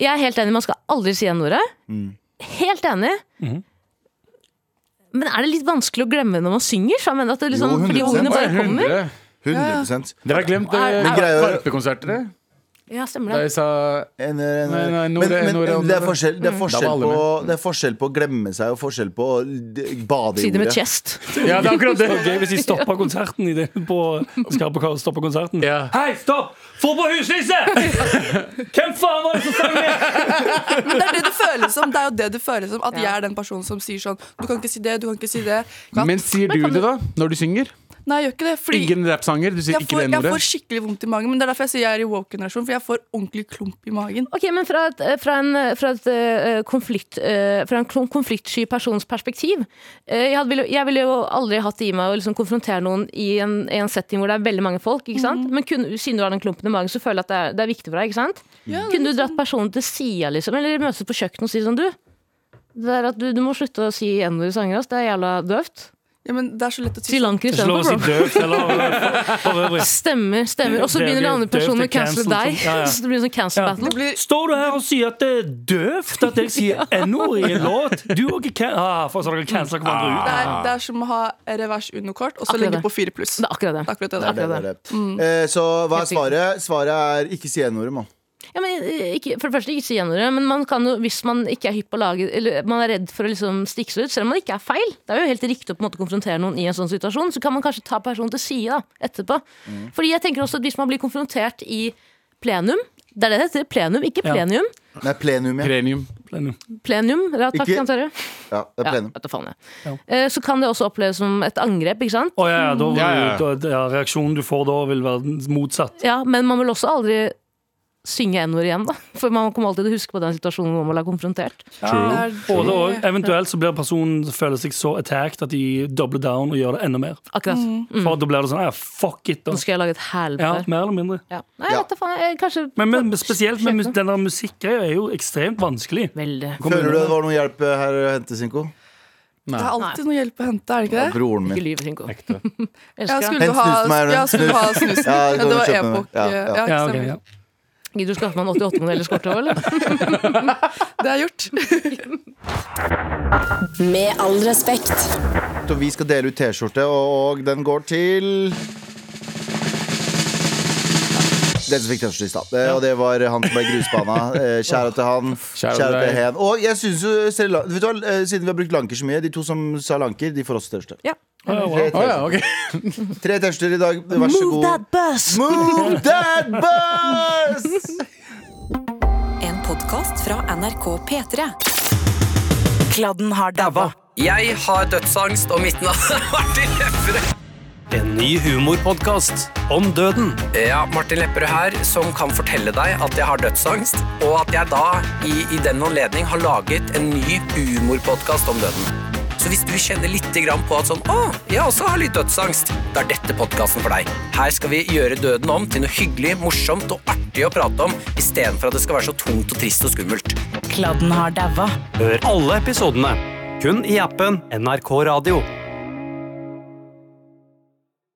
[SPEAKER 4] Jeg er helt enig, man skal aldri si n-ordet. Helt enig. Men er det litt vanskelig å glemme når man synger? Så jeg mener at det liksom,
[SPEAKER 2] Jo,
[SPEAKER 4] fordi
[SPEAKER 2] 100%.
[SPEAKER 4] ordene bare kommer.
[SPEAKER 5] 100.
[SPEAKER 2] 100
[SPEAKER 5] Dere har glemt
[SPEAKER 4] Men
[SPEAKER 5] eh,
[SPEAKER 2] greia er-
[SPEAKER 5] Karpe-konserter, dere?
[SPEAKER 4] Ja, stemmer
[SPEAKER 5] Da
[SPEAKER 4] det.
[SPEAKER 5] jeg sa
[SPEAKER 2] En, en,
[SPEAKER 5] Nei, nei,
[SPEAKER 2] men,
[SPEAKER 5] Nore-
[SPEAKER 2] men
[SPEAKER 5] Nore- Mm.
[SPEAKER 2] det, er forskjell, det, er
[SPEAKER 5] Da
[SPEAKER 2] forskjell
[SPEAKER 5] var alle
[SPEAKER 2] på, det er forskjell på å glemme seg og forskjell på å d- bade i
[SPEAKER 4] Si det med
[SPEAKER 2] ordet.
[SPEAKER 4] chest.
[SPEAKER 5] Ja, det er akkurat
[SPEAKER 3] Det var
[SPEAKER 5] det.
[SPEAKER 3] gøy hvis de stoppa konserten i det på, skal på, stopper konserten.
[SPEAKER 5] Ja.
[SPEAKER 3] Hei, stopp! Få på
[SPEAKER 5] [LAUGHS]
[SPEAKER 3] huslyset! Hvem faen var det som sang det?
[SPEAKER 10] Men det er det det føles som. Det er jo det det føles som At jeg er den personen som sier sånn Du kan ikke si det, du kan ikke si det. Katt.
[SPEAKER 5] Men sier du det, da? Når du synger?
[SPEAKER 10] Nei, jeg gjør ikke det. Fordi
[SPEAKER 5] Ingen rappsanger? Du sier
[SPEAKER 10] jeg
[SPEAKER 5] ikke
[SPEAKER 10] får,
[SPEAKER 5] det
[SPEAKER 10] jeg
[SPEAKER 5] ordet?
[SPEAKER 10] får skikkelig vondt i magen. Men det er derfor jeg sier jeg er i woke-generasjon, for jeg får ordentlig klump i magen.
[SPEAKER 4] Ok, men fra, et, eh, fra, en, fra, et, eh, konflikt, eh, fra en klon- konfliktsky persons perspektiv eh, jeg, hadde, ville- jeg ville jo aldri hatt det i meg å liksom konfrontere noen i en, i en setting hvor det er veldig mange folk. Ikke sant? Men kun, siden du har den klumpen i magen, så føler jeg at det er, det er viktig for deg. Ikke sant? Kunne du dratt personen til sida, liksom? Eller møtes på kjøkkenet og si sånn, du det der at du, du må slutte å si n-ord i sanger. ass. Det er jævla døvt.
[SPEAKER 10] Ja, men det er så lett å
[SPEAKER 4] Sri
[SPEAKER 10] si sånn.
[SPEAKER 4] Lanka
[SPEAKER 3] Ikke lov å si
[SPEAKER 4] istedenfor, bro.
[SPEAKER 3] døvt eller [LAUGHS] for, for øvrig.
[SPEAKER 4] Stemmer. stemmer Og så
[SPEAKER 3] Det er
[SPEAKER 4] begynner den
[SPEAKER 3] jo
[SPEAKER 4] andre
[SPEAKER 3] døvt, det
[SPEAKER 4] personen
[SPEAKER 3] er
[SPEAKER 4] å cancele
[SPEAKER 3] cancel,
[SPEAKER 4] deg. [LAUGHS]
[SPEAKER 3] sånn. Ja, ja.
[SPEAKER 4] Så det blir en sånn cancel
[SPEAKER 3] Ja.
[SPEAKER 4] battle.
[SPEAKER 10] Det blir
[SPEAKER 3] Står du her og sier at det er døvt at jeg sier n-ord i en låt? Du og ikke can... Ah, for så dere cancela hverandre ut.
[SPEAKER 10] det er, det er som å ha revers underkort og så
[SPEAKER 4] Akkurat
[SPEAKER 10] legge
[SPEAKER 4] det.
[SPEAKER 10] på fire pluss.
[SPEAKER 4] Det er akkurat det.
[SPEAKER 10] Det er akkurat det.
[SPEAKER 2] Det er det, det er det. Eh, så hva er
[SPEAKER 4] Helt riktig.
[SPEAKER 2] svaret? Svaret er ikke si n-ordet, mann.
[SPEAKER 4] Ja, men eh, ikke, for det første, ikke si gjennomre, men man kan jo, hvis man ikke er hypp på å lage Eller man er redd for å liksom stikke seg ut, selv om man ikke er feil. Det er jo helt riktig å på en måte konfrontere noen i en sånn situasjon. Så kan man kanskje ta personen til side da, etterpå. Fordi jeg tenker også at hvis man blir konfrontert i plenum Det er det det heter. Plenum, ikke
[SPEAKER 3] Ja.
[SPEAKER 4] plenium.
[SPEAKER 2] Nei, plenum, ja.
[SPEAKER 5] Premium.
[SPEAKER 10] Ah.
[SPEAKER 4] Plenum, ja, takk,
[SPEAKER 2] Ikke-
[SPEAKER 4] Jan Terje.
[SPEAKER 2] ja det er
[SPEAKER 4] Ja,
[SPEAKER 2] plenum.
[SPEAKER 4] vet du faen, jeg. Eh, Så kan det også oppleves som et angrep, ikke sant?
[SPEAKER 3] Å ja, ja, da, vil
[SPEAKER 5] Ja, ja.
[SPEAKER 3] du- da, ja, reaksjonen du får da, vil være den motsatt.
[SPEAKER 4] Ja, men man vil også aldri synge n-ord igjen, da. For man kommer alltid til å huske på den situasjonen hvor man ble konfrontert.
[SPEAKER 10] Ja, det er
[SPEAKER 3] Både
[SPEAKER 10] det.
[SPEAKER 3] og. Eventuelt så blir personen føler seg så attacked at de dobler down og gjør det enda mer.
[SPEAKER 4] Akkurat. Mm.
[SPEAKER 3] For da blir det sånn ja, fuck it, da.
[SPEAKER 4] Nå skal jeg lage et helvete.
[SPEAKER 3] Ja,
[SPEAKER 4] her.
[SPEAKER 3] mer eller mindre.
[SPEAKER 4] Ja. Nei,
[SPEAKER 2] Ja.
[SPEAKER 4] vet da faen. Jeg, kanskje
[SPEAKER 3] Men, men spesielt med mus- den der musikkgreia er jo ekstremt vanskelig.
[SPEAKER 4] Veldig.
[SPEAKER 2] Føler du det var noe hjelp eh, her å hente, Sinko?
[SPEAKER 10] Det er alltid noe hjelp å hente, er det ikke
[SPEAKER 2] Ja,
[SPEAKER 10] det?
[SPEAKER 2] broren
[SPEAKER 4] Ikke
[SPEAKER 2] min.
[SPEAKER 4] lyv, Rinko.
[SPEAKER 5] Ekte.
[SPEAKER 10] Ja,
[SPEAKER 4] Elsker deg.
[SPEAKER 10] skulle
[SPEAKER 2] Hent
[SPEAKER 10] du ha,
[SPEAKER 2] snusen, Maren,
[SPEAKER 10] ja, skulle du ha
[SPEAKER 2] snus.
[SPEAKER 10] snusen?
[SPEAKER 2] Ja,
[SPEAKER 10] Ja,
[SPEAKER 2] kan
[SPEAKER 10] det
[SPEAKER 2] du
[SPEAKER 10] var
[SPEAKER 2] kjøpe den?
[SPEAKER 10] epok.
[SPEAKER 2] Ja,
[SPEAKER 10] Ja,
[SPEAKER 2] ja.
[SPEAKER 10] ikke
[SPEAKER 3] Ja, ok,
[SPEAKER 10] stemmer.
[SPEAKER 3] ja.
[SPEAKER 4] Gidder du skaffe meg en 88-modell skjorte òg, eller?
[SPEAKER 10] Det er gjort.
[SPEAKER 8] Med all respekt.
[SPEAKER 2] Og vi skal dele ut T-skjorte, og den går til den som fikk T-skjorte i stad. Eh, Og det var han som ble grusbana. Eh, Kjære til han.
[SPEAKER 5] Kjære
[SPEAKER 2] Kjære
[SPEAKER 5] til
[SPEAKER 2] til
[SPEAKER 5] deg.
[SPEAKER 2] hen. Og jeg synes jo Sri Lan- Vet du hva, eh, Siden vi har brukt lanker så mye, de to som sa lanker, de får også T-skjorte.
[SPEAKER 4] Ja.
[SPEAKER 2] Tre
[SPEAKER 5] Å ja,
[SPEAKER 2] T-skjorter.
[SPEAKER 5] ok.
[SPEAKER 2] Tre T-skjorter i dag. Vær så god.
[SPEAKER 4] bus!
[SPEAKER 2] Move
[SPEAKER 4] [LAUGHS]
[SPEAKER 2] that bus!
[SPEAKER 11] En podkast fra NRK P3. Kladden har daua.
[SPEAKER 7] Jeg har dødsangst, og mitt navn er Martin Lepperød.
[SPEAKER 12] En ny humorpodkast om døden.
[SPEAKER 7] Ja, Martin Lepperød her, som kan fortelle deg at jeg har dødsangst, og at jeg da, i, i den anledning, har laget en ny humorpodkast om døden. Så hvis du kjenner litt grann på at sånn, å, jeg også har litt dødsangst, da er dette podkasten for deg. Her skal vi gjøre døden om til noe hyggelig, morsomt og artig å prate om, istedenfor at det skal være så tungt og trist og skummelt.
[SPEAKER 11] Kladden har daua.
[SPEAKER 12] Hør alle episodene kun i appen NRK Radio.